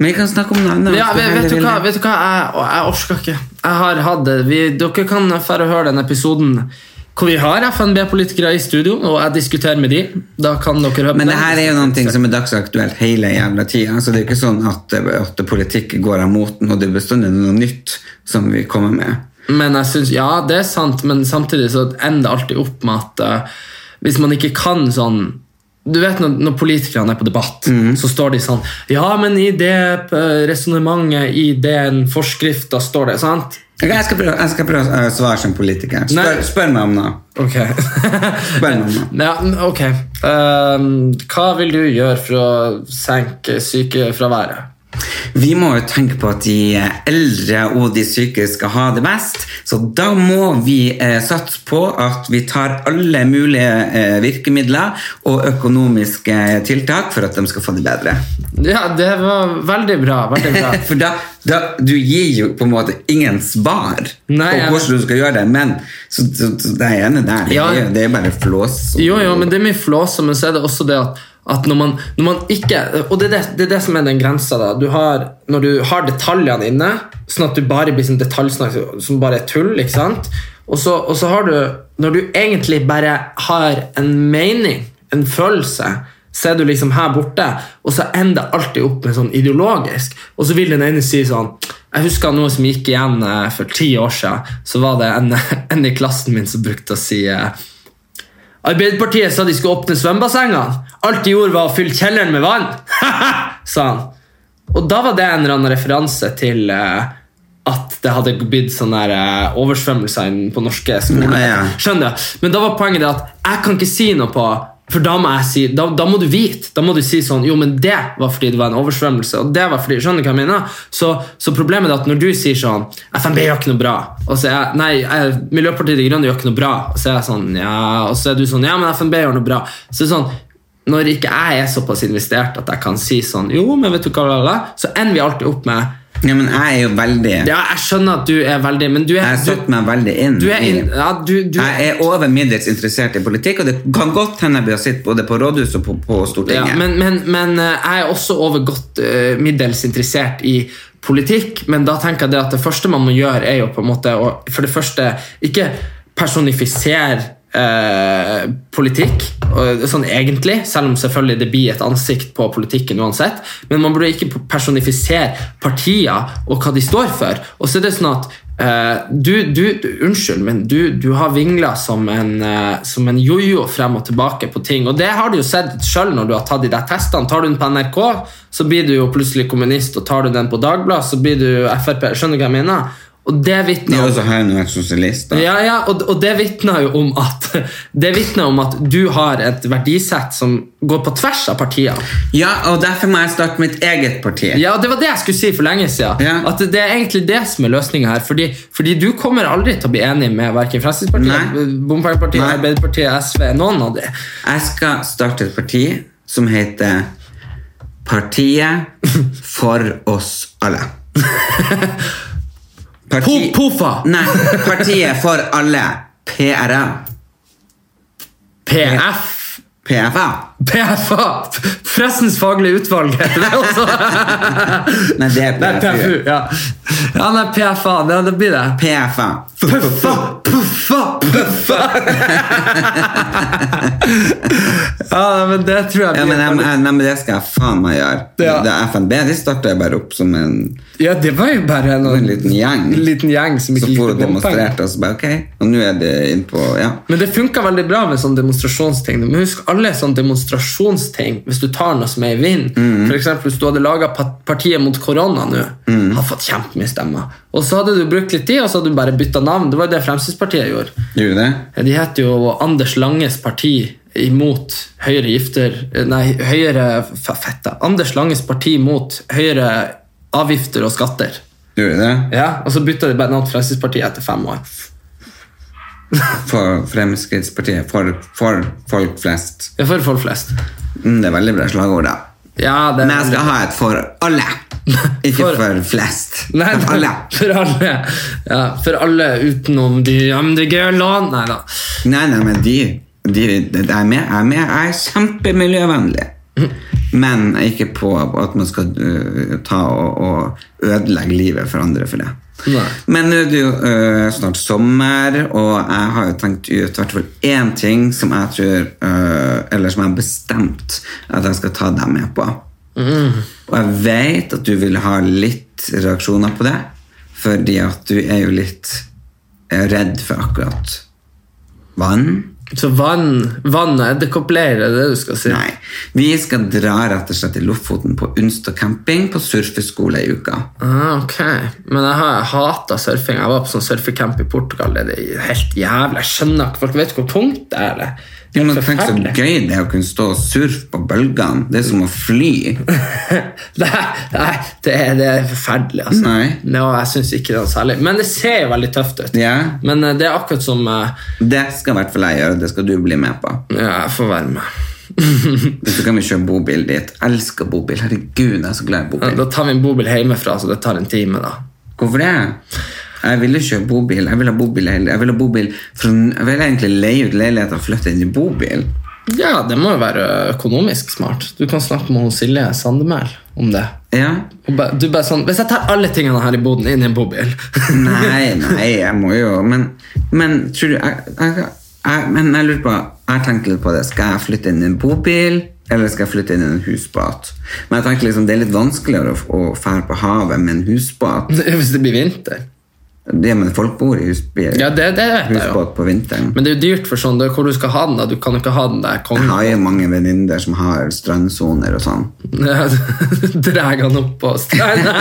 Men vi kan snakke om noe annet. Ja, hvis vet, heller vet du vil hva? det. Vet du hva? Jeg, og jeg orsker ikke. Jeg har hatt det. Vi, dere kan færre høre den episoden hvor vi har FNB-politikere i studio, og jeg diskuterer med de. Da kan dere høre på Men det den. her er jo noe som er dagsaktuelt hele jævla tida. Så det er jo ikke sånn at, at politikk går av moten, og det er bestandig noe nytt som vi kommer med. Men jeg synes, ja, det er sant, men samtidig så ender det alltid opp med at eh, hvis man ikke kan sånn du vet når, når politikerne er på debatt, så står de sånn Ja, men i det eh, resonnementet, i den forskrifta, står det sant? Ok, Jeg skal prøve, jeg skal prøve å svare som politiker. Nei. Spør, spør meg om noe. [laughs] Ok. Spør meg om noe. ja, ok. Ehm, hva vil du gjøre for å senke sykefraværet? Vi må jo tenke på at de eldre og de syke skal ha det best, så da må vi eh, satse på at vi tar alle mulige eh, virkemidler og økonomiske tiltak for at de skal få det bedre. Ja, det var veldig bra. Veldig bra. For da, da, du gir jo på en måte ingen svar Nei, jeg på hvordan du skal gjøre det, men så, så, så det er enig der, det, Ja. er- det er bare flås. Jo, jo, men det er mye flåse, men så er det også det at, at når, man, når man ikke Og det er det, det er det som er den grensa. da. Du har, når du har detaljene inne, sånn at du bare blir sånn detaljsnakk som bare er tull, ikke sant? Og så, og så har du Når du egentlig bare har en mening, en følelse, så er du liksom her borte, og så ender det alltid opp med sånn ideologisk. Og så vil den ene si sånn Jeg husker noe som gikk igjen eh, for ti år siden. Så var det en, [laughs] en i klassen min som brukte å si eh, Arbeiderpartiet sa de skulle åpne svømmebassengene. Alt de gjorde, var å fylle kjelleren med vann! [laughs] sa han. Og da var det en eller annen referanse til eh, at det hadde blitt sånne der, eh, oversvømmelser inn på norske skoler. Ja, ja. Skjønner du? Men da var poenget det at jeg kan ikke si noe på For da må jeg si Da, da må du vite. Da må du si sånn Jo, men det var fordi det var en oversvømmelse. Og det var fordi Skjønner du hva jeg mener? Så, så problemet er at når du sier sånn FNB gjør ikke noe bra. Og så er jeg Nei, jeg, Miljøpartiet De Grønne gjør ikke noe bra. Og så er jeg sånn Ja, og så er du sånn Ja, men FNB gjør noe bra. Så det er sånn når ikke jeg er såpass investert at jeg kan si sånn Jo, men vet du hva, la, la, la», så ender vi alltid opp med Ja, men jeg er jo veldig... Ja, jeg skjønner at du er veldig Men du er, Jeg har satt meg veldig inn du, du er inn, i- ja, du, du, Jeg er over middels interessert i politikk, og det kan godt hende jeg blir sitte både på rådhuset og på, på ja, Stortinget. men, men, men eh, jeg er også over godt eh, middels interessert i politikk, men da tenker jeg det at det første man må gjøre, er jo på en måte å for det første ikke personifisere eh, politikk, og sånn egentlig, selv om selvfølgelig det blir et ansikt på politikken uansett, men man burde ikke personifisere partier og hva de står for. Og så er det sånn at eh, du, du, Unnskyld, men du, du har vingla som en eh, Som en jojo frem og tilbake på ting, og det har du jo sett sjøl når du har tatt de der testene. Tar du den på NRK, så blir du jo plutselig kommunist, og tar du den på Dagbladet, så blir du Frp. Skjønner du hva jeg mener? Og det vitner Ja, om- og så har jeg nå vært sosialist, da. ja, ja, og, og det vitner jo om at [laughs] Det vitner om at du har et verdisett som går på tvers av partier. Ja, og derfor må jeg starte mitt eget parti. Ja, og Det var det jeg skulle si for lenge siden. Ja. At det er egentlig det som er løsninga her. Fordi, fordi du kommer aldri til å bli enig med verken Nei. Fremskrittspartiet, Bompengepartiet, Nei. Arbeiderpartiet, SV, noen av de. Jeg skal starte et parti som heter Partiet for oss [laughs] alle. Parti- Pofa! Nei, Partiet for alle. PRA. PF! PFA. PFA! Pressens faglige utvalg heter det også. [laughs] Nei, det er Nei, PFU. PFU. Ja, ja nei, PFA. Det, det blir det. PFA. Puffa, puffa, puffa! [laughs] ja, nei, men det tror jeg Ja, blir men, jeg, jeg, nei, men det skal jeg faen meg gjøre. Ja. Det er FNB de starta jeg bare opp som en, Ja, det var jo bare en, en liten gjeng. en liten gjeng som Så ikke for å likte bompenger. demonstrerte, og så bare ok. Og nå er det innpå Ja. Men det funka veldig bra med sånne demonstrasjonsting. Men husk alle sånne demonstrasjonsting, hvis du tar noe som er i vinden Mm. For eksempel, Hvis du hadde laga Partiet mot korona nå, Mm. hadde fått kjempemye stemmer. Og så hadde du brukt litt tid, og så hadde du bare bytta navn. Det var jo det Fremskrittspartiet gjorde. Gjorde det? Ja, De heter jo Anders Langes parti imot høyere gifter Nei, høyere f- fette. Anders Langes parti mot høyere avgifter og skatter. Gjorde det? Ja, Og så bytta de bare navn til Fremskrittspartiet etter fem år. For Fremskrittspartiet. For, for folk flest. Ja, For folk flest. Mm, det er veldig bra slagord, da. Ja, det Men jeg skal ha et for alle. [laughs] Ikke For- for, flest. Nei, for alle. For alle. Ja, for alle utenom de MDG-lån. Nei da. Nei, nei, men de, de, de jeg er med. Jeg er med. Jeg er kjempemiljøvennlig. Men ikke på at man skal øh, ta og, og ødelegge livet for andre for det. Nei. Men nå er det jo øh, snart sommer, og jeg har jo tenkt ut i hvert fall én ting som jeg tror øh, Eller som jeg har bestemt at jeg skal ta deg med på. Og jeg vet at du vil ha litt reaksjoner på det, fordi at du er jo litt eh, redd for akkurat vann. Så vann, vann og edderkoppleir er det du skal si? Nei. Vi skal dra rett og slett til Lofoten på Unstad camping på surfeskole i uka. Ah, ok. Men jeg har hata surfing. Jeg var på sånn surfecamp i Portugal. Det er helt jævlig. Jeg skjønner ikke Folk vet ikke hvor tungt det er. eller? Det Du er må tenke så [laughs] forferdelig. gøy det er å kunne stå og surfe på bølgene. Det er som å fly. Nei, nei, det er, det er forferdelig, altså. Nei. Nå, jeg syns ikke det er noe særlig. Men det ser jo veldig tøft ut. Ja. Men eh, det er akkurat som eh, Det skal i hvert fall jeg gjøre. Det skal du bli med på. Ja, jeg får være med. [laughs] Så kan vi kjøre bobil dit. Jeg elsker bobil. Herregud, jeg er så glad i Ja, bobil. Da tar vi en bobil hjemmefra, så det tar en time, da. Hvorfor det? Jeg ville kjøre bobil. Jeg ville ha bobil hele- Jeg ville ha bobil fra- Jeg ville egentlig leie ut leiligheter og flytte inn i bobil. Ja, det må jo være økonomisk smart. Du kan snakke med hun Silje Sandemæl om det. Ja. Og ba- Du bare sånn, Hvis jeg tar alle tingene her i boden inn i en bobil [laughs] Nei, nei, jeg må jo Men, men tror du jeg, jeg, jeg, Men jeg lurer på Jeg tenkte litt på det Skal jeg flytte inn i en bobil Eller skal jeg flytte inn i en husbåt Men jeg tenker liksom Det er litt vanskeligere å, å fære på havet Med en husbåt Hvis det blir vinter. Det men folk bor i husbil Ja, det, det vet jeg jo. Husbåt på vinteren Men det er jo dyrt for sånn, det er hvor du skal ha den. da. Du kan jo ikke ha den der Jeg kongen. [laughs] har jo mange venninner som har strandzoner og sånn Dreg han opp på stranda.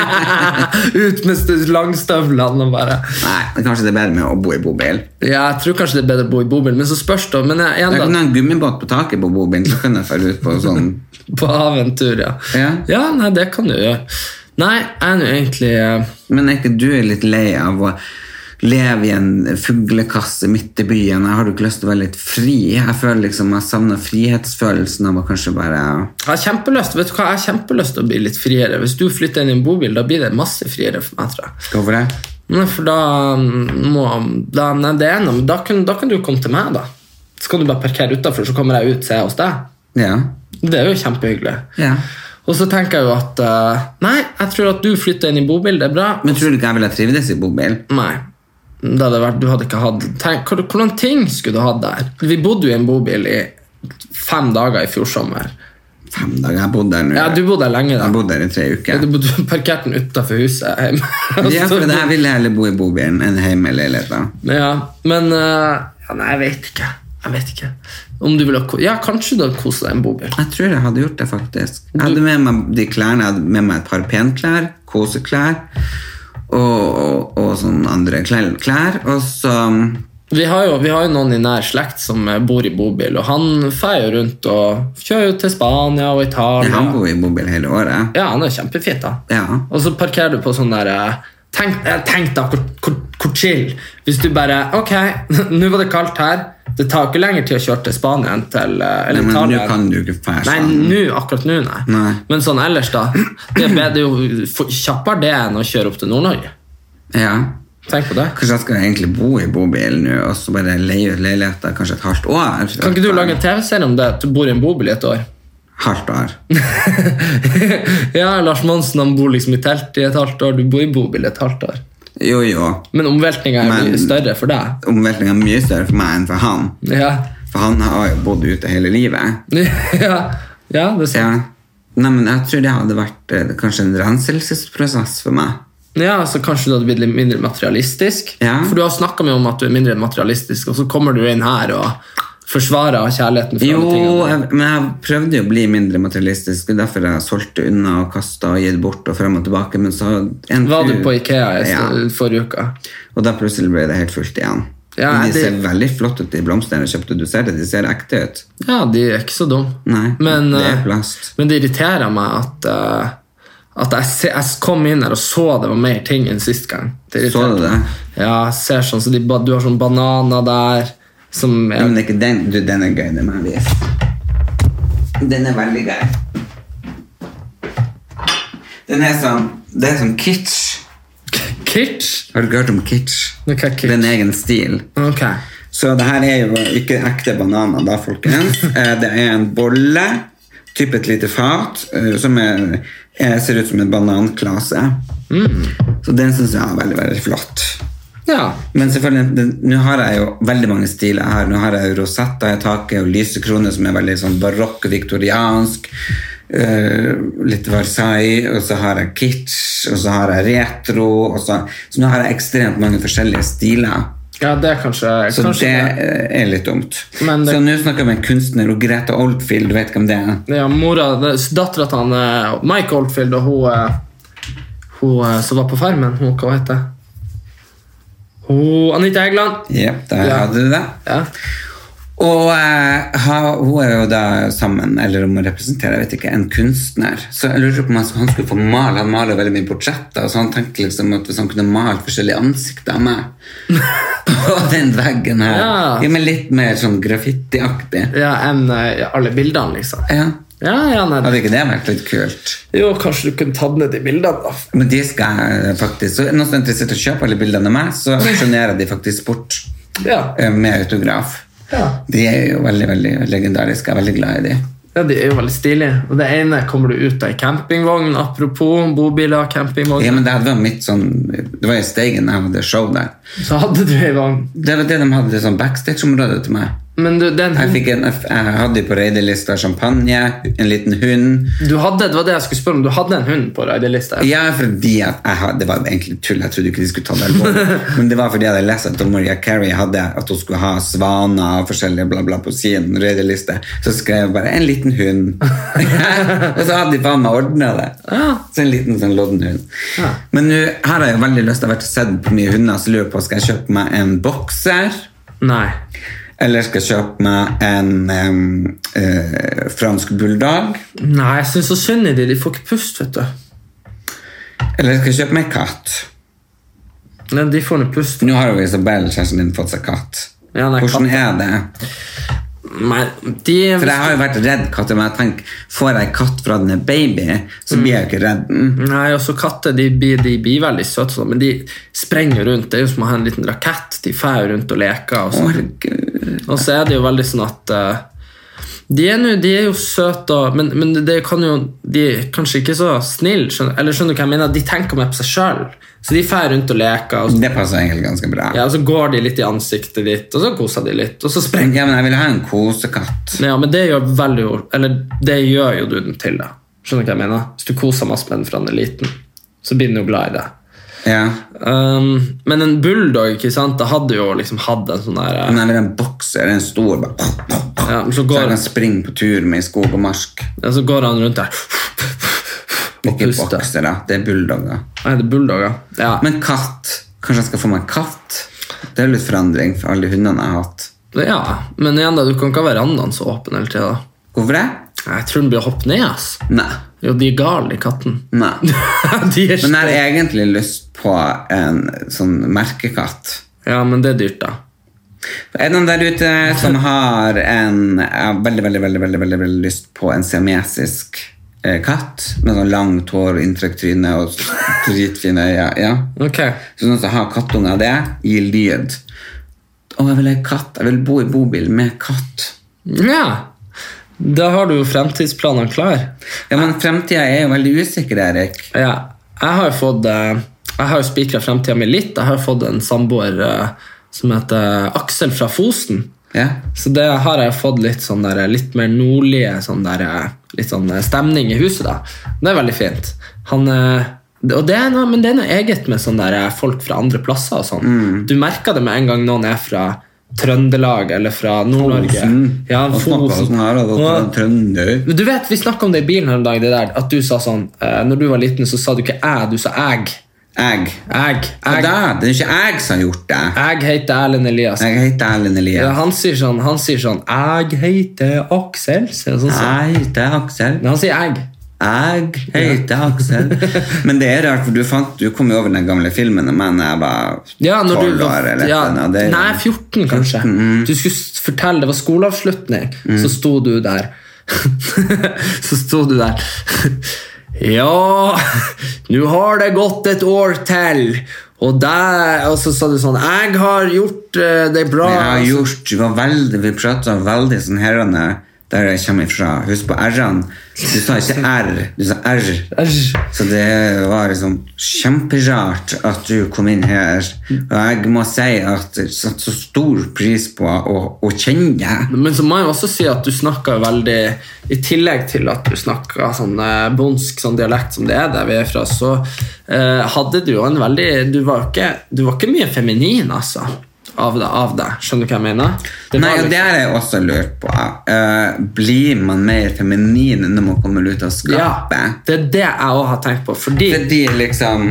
Ut med st- langstøvlene og bare Nei, men kanskje det er bedre med å bo i bobil Ja, jeg tror kanskje det er bedre å bo i bobil, men så spørs det. Men jeg, Jeg igjen, kan ha en gummibåt på taket på bobilen Så kan jeg fære ut på sånn da, [laughs] på aventur, ja. Ja. Ja, nei, det kan du gjøre. Nei, jeg er nå egentlig eh, Men er ikke du litt lei av å leve i en fuglekasse midt i byen? Jeg har du ikke lyst til å være litt fri? Jeg føler liksom jeg savner frihetsfølelsen av å kanskje bare Jeg har kjempelyst vet du hva, jeg har kjempelyst til å bli litt friere. Hvis du flytter inn i en bobil, da blir det masse friere for meg. tror jeg. Skal over det? Nei, for da mm, må da, Nei, det er noe, men da kan, da kan du komme til meg, da. Så kan du bare parkere utafor, så kommer jeg ut, ser jeg hos deg. Ja. Det er jo kjempehyggelig. ja. Og så tenker jeg jo at eh, Nei, jeg tror at du flytter inn i bobil, det er bra. Men tror du ikke jeg ville trivdes i bobil? Nei. det hadde vært, du hadde ikke hatt tenk, hvor- Hvordan ting skulle du hatt der? Vi bodde jo i en bobil i fem dager i fjor sommer. Fem dager. Jeg bodde der nå. Ja, du bodde der lenge, da. Jeg bodde der i tre uker. Du bodde parkert den utafor huset hjemme. Ja, for det her ville jeg heller bo i bobilen enn hjemme i leiligheten. Men Ja, men eh, ja, Nei, jeg vet ikke. Jeg vet ikke. Om du ville ko- Ja, kanskje du hadde kost deg i en bobil. Jeg tror jeg hadde gjort det, faktisk. Jeg hadde med meg de klærne, jeg hadde med meg et par penklær, koseklær og, og, og sånn andre klær. klær. Og så Vi har, jo, vi har jo noen i nær slekt som eh, bor i bobil, og han feier jo rundt og kjører jo til Spania og Jeg Italia. har bodd i bobil hele året. Ja, han er kjempefint, da. Ja. Og så parkerer du på sånn der eh, Tenk, eh, tenk da, hvor, hvor, hvor chill. Hvis du bare Ok, [laughs] nå var det kaldt her. Det tar ikke lenger tid å kjøre til Spania enn til eh, Nei, eller men nå Italia. kan du ikke fære Nei, sånn. nå, akkurat nå, nei. Nei. Men sånn ellers, da. Det er bedre jo for- kjappere det enn å kjøre opp til Nord-Norge. Ja. Tenk på det. Kanskje jeg skal egentlig bo i bobil nå, og så bare leie ut leiligheter kanskje et halvt år. Kan ikke du lage en TV-serie om det? At du bor i en bobil i et år? [laughs] Halvt år. ja, Lars Monsen han bor liksom i telt i et halvt år, du bor i bobil i et halvt år. Jo, jo. Men omveltninga er Men- mye større for deg. Omveltningen er mye større for meg enn for han. Ja, [laughs] For han har jo bodd ute hele livet. ja. ja det er sant. Ja. Nei, men jeg tror det hadde vært eh, kanskje en renselsesprosess for meg. Ja, så Kanskje du hadde blitt litt mindre materialistisk? Ja. For du har snakka mye om at du er mindre materialistisk, og så kommer du inn her og forsvarer kjærligheten. for Jo, alle tingene. jeg, men jeg prøvde jo å bli mindre materialistisk, og derfor jeg solgte unna og kasta og gitt bort og frem og tilbake, men så en Var du tur- på Ikea i Ja, forrige uke? og da plutselig ble det helt fullt igjen. Ja, Men de det- ser veldig flott ut, de blomstene jeg kjøpte. Du ser det, de ser ekte ut. Ja, de er ikke så dumme. Nei, men, det er eh, plast. Men det irriterer meg at, eh, at jeg, se, jeg kom inn her og så det var mer ting enn sist gang. Så Det du irriterte det? meg. Ja, jeg ser sånn, så de, ba- du har sånn bananer der som Ja, er, men det er ikke den. Du, den er gøy, den må jeg vise. Den er veldig gøy. Den er sånn Det er sånn kitsch. Kitsch? Har du ikke hørt om kitsch? Nå kan jeg Det er kitsch. en egen stil. Ok. Så det her er jo ikke ekte bananer, da, folkens. Eh, Det er en bolle, typ et lite fat, eh, som er, er, ser ut som en bananklase. Så den syns jeg er veldig, veldig flott. Ja. Men selvfølgelig, den- nå har jeg jo veldig mange stiler her. Nå har jeg jo rosetta i taket og lysekroner som er veldig sånn barokk og viktoriansk. eh, litt Versailles, og så har jeg kitsch, og så har jeg retro. Og så, så nå har jeg ekstremt mange forskjellige stiler. ja, det er kanskje, Så kanskje det eh, er litt dumt. Men det- Så nå snakker jeg med en kunstner og Greta Oldfield, du vet hvem det er? Ja, mora, dattera til han, eh, Mike Oldfield og hun, eh, hun eh, som var på Farmen, hun, hva heter hun? Hun- Anita Egeland. Jep, der Ja. hadde du det. Ja. Og eh, ha- hun er jo da sammen, eller om hun representerer, jeg vet ikke, en kunstner. Så jeg lurer på om han, han skulle få male. Han maler veldig mye portretter, så han tenkte liksom at hvis han kunne male forskjellige ansikter av meg [laughs] på den veggen her Ja. ja, men Litt mer sånn graffitiaktig. ja, enn eh, alle bildene, liksom. Ja. Ja, ja, nei. Hadde ikke det vært litt kult? Jo, kanskje du kunne tatt ned de bildene, da. Men de skal jeg faktisk Så er noen som er interessert i å kjøpe alle bildene av meg, så aksjonerer de faktisk bort Ja, eh, med autograf. Ja. De er jo veldig veldig legendariske. Jeg er veldig glad i de. ja de er jo veldig stilige. Og det ene kommer du ut av i campingvogn, apropos bobiler og campingvogn. Ja, men Det her var mitt sånn Det var i Steigen jeg hadde show der. Så hadde du ei vogn. Det var det de hadde det sånn backstage-område til meg. Men du, Jeg, den hunden fikk en, jeg hadde på raidelista champagne, en liten hund du hadde, det var det jeg skulle spørre om, du hadde en hund på raidelista? Ja, fordi at jeg hadde, Det var egentlig tull, jeg trodde ikke de skulle ta det alvorlig. Men det var fordi jeg hadde lest at Maria Carey hadde at hun skulle ha svaner og forskjellige bla bla på sin røydeliste. Så skrev jeg bare 'en liten hund'. og så hadde de faen meg ordna det. Så en liten sånn lodden hund. Men nå her har jeg jo veldig lyst til å ha vært og sett på mye hunder, så lurer jeg på skal jeg kjøpe meg en bokser. Nei. Eller skal jeg kjøpe meg en em, eh, fransk bulldog? Nei, jeg syns så synd i de. De får ikke pust, vet du. Eller skal jeg kjøpe meg katt? Nei, de får nå pust. Nå har jo Isabel, kjæresten din, fått seg katt. Ja, nei, Hvordan katt- er det? Nei, de For jeg har jo vært redd katter, men jeg tenker, får jeg katt fra den er baby, så blir jeg jo ikke redd Mm. den. Nei, også katter de blir, de blir veldig søte, sånn, men de sprenger rundt. Det er jo som å ha en liten rakett. De fer rundt og leker. Og Å, sånn. herregud. Og så er det jo veldig sånn at eh, De er, nå- de er jo søte, og- men, men det kan jo, de er kanskje ikke så snille. Skjønner, eller skjønner du hva jeg mener? De tenker mer på seg sjøl. Så de drar rundt og leker, og så, Det passer egentlig ganske bra. ja, og så går de litt i ansiktet ditt, og så koser de litt, og så sprenger Ja, men jeg vil ha en kosekatt. Nei, Ja, men det gjør, veldig, eller, det gjør jo du den til, da. Skjønner du hva jeg mener? Hvis du koser masse med den fra den er liten, så blir den jo glad i det. Ja. Um, men en bulldog ikke sant? Da hadde jo liksom hatt en sånn der Men jeg vil ha en bokser, en stor, bare ja, så, Så jeg går, kan springe på tur med i skog og marsk. ja, så går han rundt der og Ikke puster. boksere, det er bulldogger. Nei, det er bulldogger. Ja. Men katt. Kanskje jeg skal få meg en katt? Det er jo litt forandring for alle de hundene jeg har hatt. ja, men igjen, da, du kan ikke ha verandaen så åpen hele tida. Hvorfor det? Jeg tror den blir å hoppe ned, ass. Nei. Jo, de er gale, de kattene. Nei. [laughs] de er Mm. Men jeg har stø- egentlig lyst på en sånn merkekatt. Ja, men det er dyrt, da. Er det noen der ute som har en Jeg har veldig, veldig, veldig, veldig, veldig, veldig lyst på en siamesisk eh, katt med sånn langt hår, inntrykt tryne og s- dritfine øyne. Ja. Ok. Sånn at jeg har kattunger av det, gir lyd. Å, jeg vil ha en katt. Jeg vil bo i bobil med katt. Ja. Da har du jo fremtidsplanene klar. Ja, men fremtida er jo veldig usikker, Erik. Ja, jeg har jo fått eh, Jeg har jo spikra fremtida mi litt. Jeg har jo fått en samboer eh, som heter Aksel fra Fosen. Ja. Så det har jeg fått litt sånn der, litt mer nordlige sånn der, eh, litt sånn eh, stemning i huset. da. Det er veldig fint. Han, eh, og det er noe, men det er noe eget med sånn der, eh, folk fra andre plasser. og sånn. Mm. Du merker det med en gang noen er fra Trøndelag eller fra Nord-Norge. Ja, Mm. Og snakka Fosen. sånn her, og da Ja. kom trønder. Men Du vet, Vi snakka om det i bilen her en dag, det der, at du sa sånn eh, Når du var liten, så sa du ikke 'æ', du sa 'æg'. Jeg. Æg. Og Æg. da, det er ikke jeg som har gjort det. Æg heter Erlend Elias. Jeg heter Erlend Ja, Elias. han sier sånn Han sier sånn 'æg heter Aksel'. sier han Sånn, sånn. Jeg heter Aksel. Men han sier 'æg'. Jeg heter Aksel. [laughs] Men det er rart, for du, fant, du kom jo over den gamle filmen om meg da jeg var Ja, når du 12 år. eller ja, noe, det er- Mm. Nei, 14, kanskje. Du skulle s- fortelle, det var skoleavslutning, så sto du der [laughs] Så sto du der [laughs] Ja, nå har det gått et år til. Og, der, og så sa du sånn Jeg har gjort eh, det bra. Jeg har gjort, vi, var veldig, vi pratet veldig sånn herrene der jeg kommer ifra. Husk på R-ene. Du sa ikke R, du sa R. Æsj. Så det var liksom kjemperart at du kom inn her. Og jeg må si at jeg satte så stor pris på å, å kjenne deg. Men så må jeg også si at du snakker veldig I tillegg til at du snakker sånn eh, bondsk sånn dialekt som det er der vi er fra, så eh, hadde du jo en veldig Du var jo ikke, du var ikke mye feminin, altså. Av deg. Av deg. Skjønner du hva jeg mener? Det var Nei, og liksom- det har jeg også lurt på. Eh, blir man mer feminin når man kommer ut av skapet? ja, det er det jeg òg har tenkt på. Fordi Fordi liksom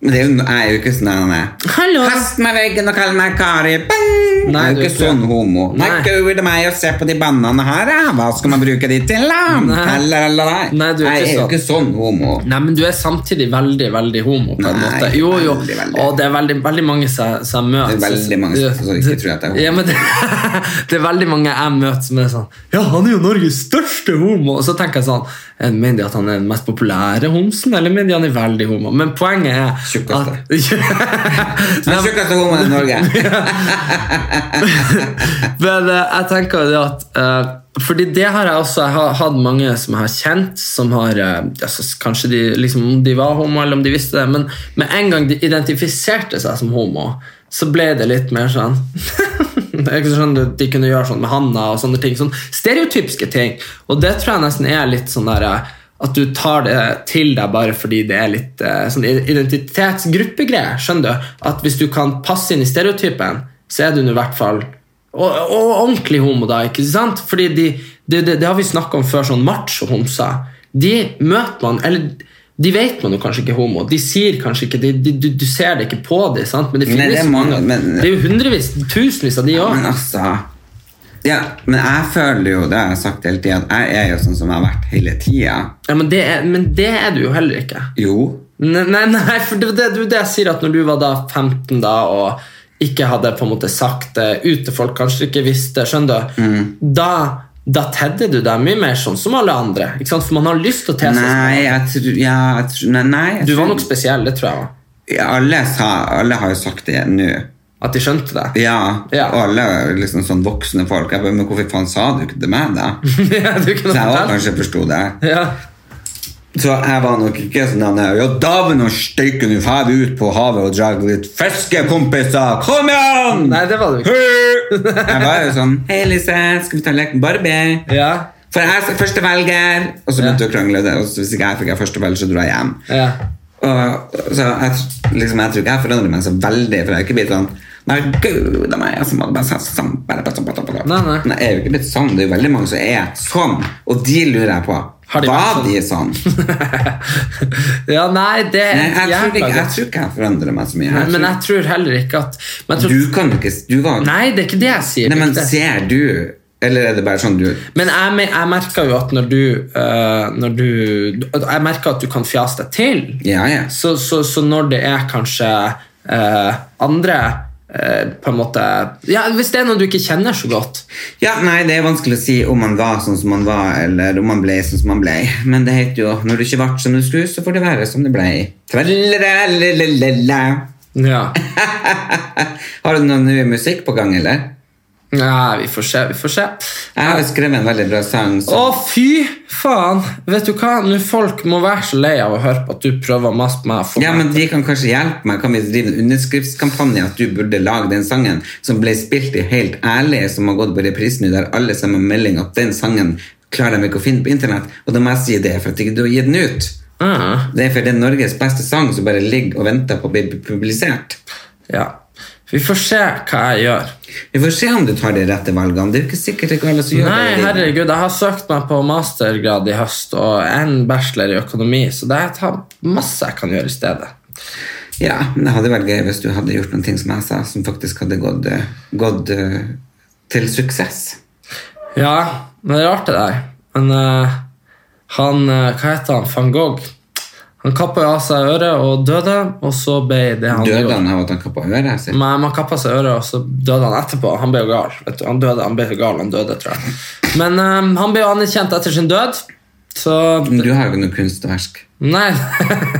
Men det er jo, jeg er jo ikke sånn han er. Hallo. Kast meg i veggen og kall meg Kari. Bang! Nei, jeg er jo du ikke er ikke- sånn homo. Nei, Nei. guri det meg å se på de bannene her. ja. Hva skal man bruke de til? da? Nei. Lalalala. Nei, du er jeg ikke er jo sånn. ikke sånn homo. Nei, men du er samtidig veldig, veldig homo på en Nei, måte. Jo, jo. veldig, veldig. Og det er veldig, veldig mange som som jeg møter. Det er veldig mange som- som ikke tror at jeg er homo. Ja, men det, [laughs] det er veldig mange jeg møter som er sånn Ja, han er jo Norges største homo! Og så tenker jeg sånn eh, Mener de at han er den mest populære homsen, eller mener de han er veldig homo? Men poenget er Tjukkeste. at- [laughs] Den tjukkeste homoen i Norge. Men eh, jeg tenker jo det at eh, Fordi det har jeg også Jeg har hatt mange som jeg har kjent Som har eh, altså, Kanskje de, liksom, om de var homo Eller om de visste det Men med en gang de identifiserte seg som homo Så ble det litt mer sånn [laughs] Jeg skjønner at de kunne gjøre sånn med handa Og sånne ting sånn Stereotypiske ting Og det tror jeg nesten er litt sånn der eh, at du tar det til deg bare fordi det er litt eh, sånn identitetsgruppegreier. Skjønner du? At hvis du kan passe inn i stereotypen, så er du nå i hvert fall og, og ordentlig homo, da. ikke sant? Fordi de, det- det- Det har vi snakka om før, sånn macho-homser. De møter man Eller de vet man jo kanskje ikke er homo. De sier kanskje ikke de, de, Du du ser det ikke på dem, sant? men det Nei, finnes det er mange, mange. men- det er jo hundrevis, tusenvis av de Men òg. altså ja, men jeg føler jo det har jeg sagt hele tiden, at jeg er jo sånn som jeg har vært hele tida. Ja, men, det er- men det er du jo heller ikke. Jo. Nei, nei, nei for det, det, det jeg sier at når du var da 15 da og ikke hadde på en måte sagt det ut til folk, kanskje ikke visste, skjønner du, Mm. da, da tedde du deg mye mer sånn som alle andre. Ikke sant? For man har lyst til å te seg sånn. Nei, jeg tror ja, jeg tror- Nei, nei jeg Du var tror- nok spesiell, det tror jeg. Ja, alle, sa, alle har jo sagt det nå. At de skjønte det. Ja, Ja. og alle liksom sånn voksne folk. Jeg bare, men hvorfor faen sa du ikke det meg, da? [laughs] Ja, Så du kunne jeg også fortalt. kanskje forsto det. Ja. Så jeg var nok ikke sånn han er, Ja, dæven og støyke, nå drar vi ut på havet og drar litt fiske, kompiser! Kom igjen! Nei, det var du ikke. Hø! Jeg var jo sånn Hei, Elise, skal vi ta leken Barbie? Ja. For jeg er første velger! Og så begynte Ja. vi å krangle, og så hvis ikke jeg fikk jeg første velger, så dro jeg hjem. Ja. [laughs] Og, så jeg, liksom, jeg tror ikke jeg forandrer meg så veldig, for jeg er ikke blitt sånn Nei, gud, det er meg som hadde bare sagt sånn bare, bare, bare, bare, bare. Nei, nei. Men jeg er jo ikke blitt sånn. Det er jo veldig mange som er sånn, og de lurer jeg på. Har de var de vært [laughs] sånn? ja, nei, det er Nei, jeg, tror jævla ikke, jeg godt. tror ikke jeg forandrer meg så mye. Nei, Jeg Men tror- jeg tror heller ikke at men jeg tror, Du kan jo ikke Du var Nei, det er ikke det jeg sier. Nei, men Det- ser du Eller er det bare sånn du Men jeg, me- jeg merker jo at når du, eh, når du at Jeg merker at du kan fjase deg til. Ja, ja. Så, så, så når det er kanskje eh, andre eh, på en måte ja, Hvis det er noen du ikke kjenner så godt Ja, nei, det er vanskelig å si om man var sånn som man var, eller om man ble sånn som man ble. Men det heter jo når du ikke ble som du skulle, så får det være som det ble. Tralalalalala. Ja, Har du noe ny musikk på gang, eller? ja vi får se. Vi får se. Jeg har jo skrevet en veldig bra sang. Å, Så. fy faen! Vet du hva? Nå Folk må være så lei av å høre på at du prøver å mase på meg. og få Ja, meg- men De kan kanskje hjelpe meg. Kan vi drive en underskriftskampanje at du burde lage den sangen som ble spilt i Helt ærlig, som har gått på reprise nå, der alle sammen melder at den sangen klarer de ikke å finne på internett? Og da må jeg si det, for at ikke du har gitt den ut. Ah, Det er fordi det er Norges beste sang som bare ligger og venter på å bli publisert. ja. Vi får se hva jeg gjør. Vi får se om du tar de rette valgene. Det er jo ikke sikkert ikke alle som gjør Nei, det. herregud, jeg har søkt meg på mastergrad i høst og en bachelor i økonomi, så det er ta- masse jeg kan gjøre i stedet. Ja, men det hadde vært gøy hvis du hadde gjort noen ting som jeg sa, som faktisk hadde gått, eh, gått eh, til suksess. Ja, men det er rart det der. Men eh, han, eh, hva heter han, van Gogh, han kappet av seg øret og døde, og så ble det han Døde gjorde. han av at han kappa øret sitt? Men man kappet seg øret, og så døde han etterpå. Han ble jo gal, vet du. Han døde, han ble jo gal, han døde, tror jeg. Men eh, han ble jo anerkjent etter sin død, så... Men Du har jo ikke noe kunstverk. Nei. [laughs]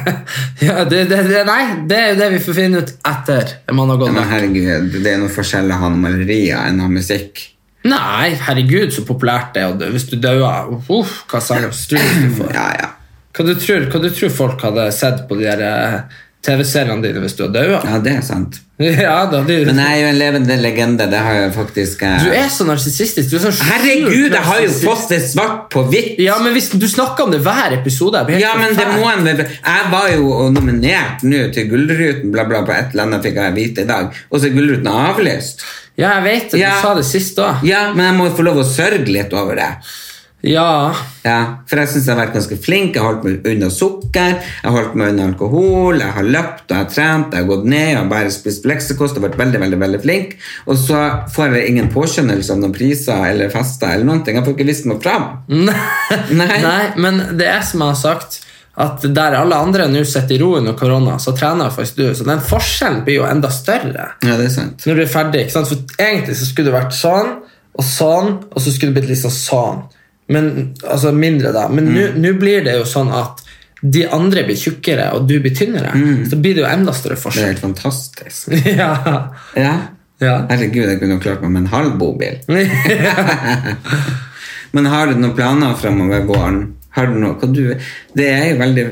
ja, det, det, det, nei, det er jo det vi får finne ut etter man har gått Men vekk. herregud, det er noen forskjeller han har malerier enn han har musikk. Nei, herregud, så populært det er. og det- Hvis du dauer uff, Hva slags strus du får. Ja, ja. Hva du tror hva du tror folk hadde sett på de der eh, TV-seriene dine hvis du hadde daua? Ja, det er sant. [laughs] Ja, da, du, Men eh, jeg er jo en levende legende, det har jeg faktisk eh, du er så narsissistisk. Du er så sjukt Herregud, jeg har jo narsissist. fått det svart på hvitt! Ja, men hvis Du snakker om det hver episode. jeg blir helt Ja, men det forferdelig. må en vel- Jeg var jo nominert nå til Gullruten, bla, bla, på et eller annet fikk jeg vite i dag, og så er Gullruten avlyst. Ja, jeg vet det. Du Ja. sa det sist òg. Ja, men jeg må jo få lov å sørge litt over det. Ja. Ja, for jeg syns jeg har vært ganske flink. Jeg har holdt meg unna sukker, jeg har holdt meg unna alkohol, jeg har løpt og jeg har trent, jeg har gått ned, jeg har bare spist leksekost og vært veldig, veldig veldig flink. Og så får jeg ingen påskjønnelse av noen priser eller fester eller noen ting. Jeg får ikke vist meg [laughs] fram. Nei. Nei, men det er som jeg har sagt at der alle andre nå sitter i ro under korona, så trener faktisk du. Så den forskjellen blir jo enda større Ja, det er sant. når du er ferdig. ikke sant? For egentlig så skulle det vært sånn og sånn, og så skulle det blitt liksom sånn. Men, altså mindre, da. Men nå- Mm. nå blir det jo sånn at de andre blir tjukkere, og du blir tynnere. Så blir det jo enda større Det er forskjell. Mm. helt fantastisk. [laughs] ja. Ja. [laughs] Ja. Herregud, jeg kunne jo klart meg med en halv bobil. ja. Men har du noen planer fremover våren? Har du noe, hva du, det er jo veldig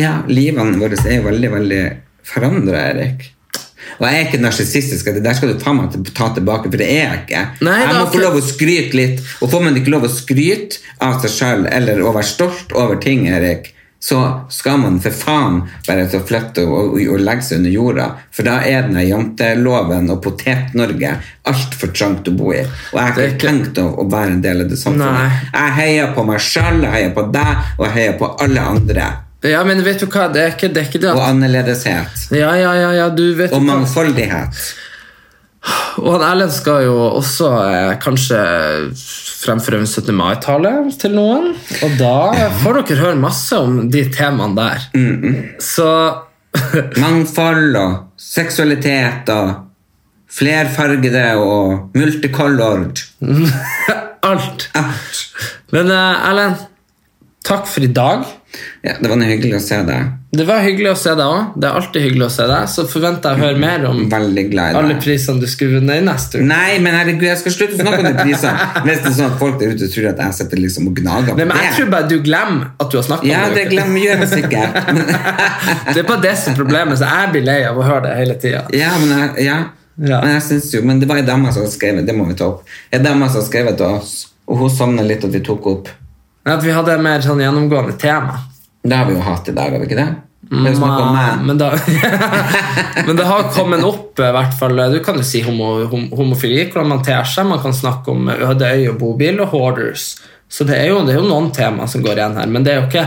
Ja, livene våre er jo veldig, veldig forandra, Erik. Og jeg er ikke narsissistisk, det der skal du ta meg til, ta tilbake, for det er jeg ikke. Nei, jeg det er må få ikke- lov å skryte litt, og får man ikke lov å skryte av seg sjøl eller å være stolt over ting, Erik, så skal man for faen bare til å flytte og, og, og legge seg under jorda, for da er den her janteloven og Potet-Norge altfor trangt å bo i. Og jeg har Det er ikke tenkt å, å være en del av det Nei. samfunnet. Jeg heier på meg sjøl, jeg heier på deg, og jeg heier på alle andre. ja, men vet du hva, det er ikke det. Er ikke det Og at... annerledeshet. Ja, ja, ja, ja, du vet Og jo hva. mangfoldighet. Og han Erlend skal jo også eh, kanskje fremføre en 17. mai-tale til noen. Og da får dere høre masse om de temaene der. Så [laughs] Mangfold og seksualitet og flerfargede og multicolored. alt. Men eh, Erlend, takk for i dag. Ja, det var noe hyggelig å se deg. Det var hyggelig å se deg òg. Det er alltid hyggelig å se deg. Så forventer jeg å høre mer om Veldig glad i deg. alle prisene du skulle vunnet i neste uke. Nei, men herregud, jeg skal slutte å snakke om de priser. [laughs] Hvis det er sånn at folk der ute tror at jeg sitter liksom og gnager på Nei, men jeg tror bare du glemmer at du har snakket Ja, om det glemmer gjør jeg sikkert. [laughs] Men, [laughs] Det er bare det som er problemet, så jeg blir lei av å høre det hele tida. ja, men, jeg, ja. Ja. men jeg synes jo Men det var ei dame som skrev det, må vi ta opp. Ei dame som skrev til oss, og hun sovna litt, og vi tok opp. At vi hadde mer sånn gjennomgående tema. Det har vi jo hatt i dag, har vi ikke det? Det er jo snakk om meg. Men, da, [laughs] men det har kommet opp, i hvert fall. Du kan jo si homo, hom, homofili, hvordan man ter seg. Man kan snakke om Ødøy og bobil og hoarders. Så det er, jo, det er jo noen tema som går igjen her, men det er jo ikke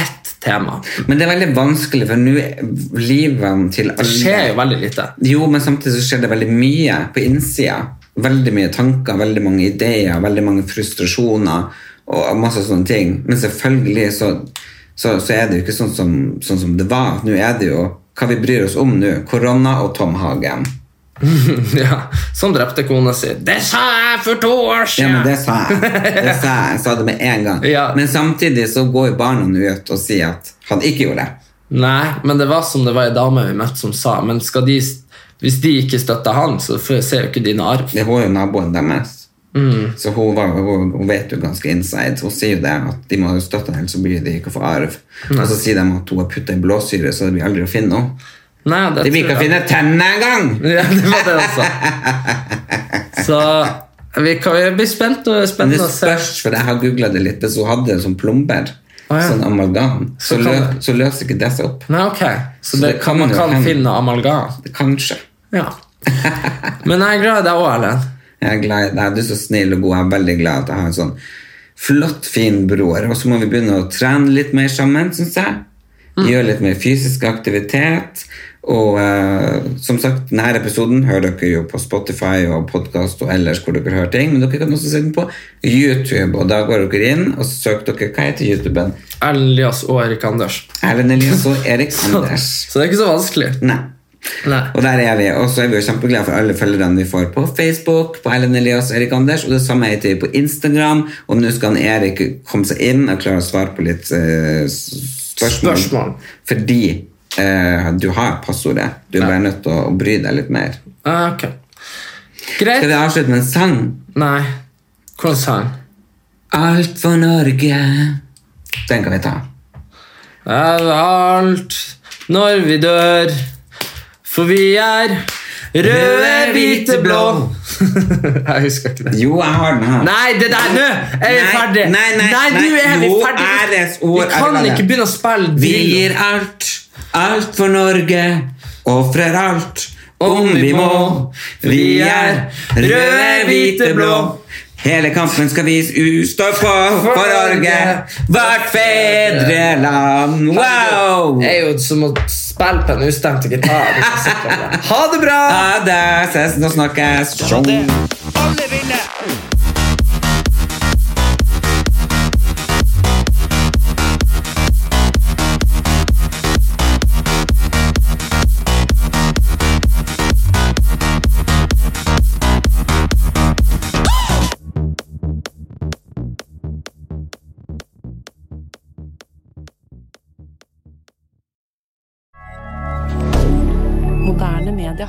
ett tema. Men det er veldig vanskelig, for nå er livene til Det skjer jo alle veldig lite. [laughs] Jo, men samtidig så skjer det veldig mye på innsida. Veldig mye tanker, veldig mange ideer, veldig mange frustrasjoner og masse sånne ting. Men selvfølgelig så, så, så er det jo ikke sånn som, sånn som det var. Nå er det jo hva vi bryr oss om nå. Korona og Tom Hagen. ja, som drepte kona si. Det sa jeg for to år Ja, men siden! det sa jeg. Det sa jeg. jeg sa det med en gang. Ja. Men samtidig så går jo barna nå ut og sier at han ikke gjorde det. Nei, men det var som det var ei dame vi møtte som sa, men skal de, hvis de ikke støtter han, så får- ser jo ikke de noen arv. Det var jo naboen deres. Mm. Så hun, var, hun, hun vet jo ganske inside. Hun sier jo det at de må jo støtte henne, ellers så blir de ikke å få arv. Og så sier de at hun har putta i blåsyre, så det blir aldri å finne henne. Nei, det De vil tror ikke jeg. finne tennene engang! Ja, det var det også. Så vi kan, det blir spent, og- Men det spennende å se. spørs, for jeg har googla det litt, så hun hadde det som plomber. Å, ja. Sånn amalgam. Så, Så lø, kan- så løser ikke det seg opp. Nei, ok. Så, Så det, det kan kan man jo kan hende. finne amalgam. Kanskje. Ja. [laughs] Men jeg er glad i deg òg, Erlend. Jeg er glad i deg. Du er så snill og god. Jeg er veldig glad at jeg har en sånn flott, fin bror. Og så må vi begynne å trene litt mer sammen, syns jeg. Gjøre litt mer fysisk aktivitet. Og eh, som sagt, denne episoden hører dere jo på Spotify og podkast og ellers hvor dere hører ting, men dere kan også se den på YouTube. Og da går dere inn og søker dere Hva heter YouTuben? Erlend Elias og Erik Anders. Erlend Elias og Erik Så, Anders. så det er ikke så vanskelig. Nei. Nei. Og der er vi, og så er vi jo kjempeglade for alle følgerne vi får på Facebook, på Ellen Elias og Erik Anders, og det samme heter vi på Instagram, og nå skal han Erik komme seg inn og klare å svare på litt eh, s- spørsmål. Spørsmål. Fordi eh, du har passordet. Du er bare nødt til å bry deg litt mer. Ah, ok. Skal Greit. vi avslutte med en sang? Nei. Hvordan sa han? Alt for Norge. Den kan vi ta. Er alt når vi dør, for vi er røde, hvite, blå. [laughs] jeg husker ikke det. Jo, jeg har den her. Nei, det der, nå er vi Nei, ferdig nei, nei, nå er vi nei, nå ferdig er det ord, Vi kan er det. ikke begynne å spille Vi drill. gir alt, alt for Norge, ofrer alt, om vi må. Vi er røde, hvite, blå. Hele kampen skal vi u- stå på for Norge, vårt fedreland. Wow! Det er jo som å spille på en ustemt [laughs] gitar Det er ikke sikkert om det. Ha det bra Ha det! Ses og snakkes. Tjong. Moderne media.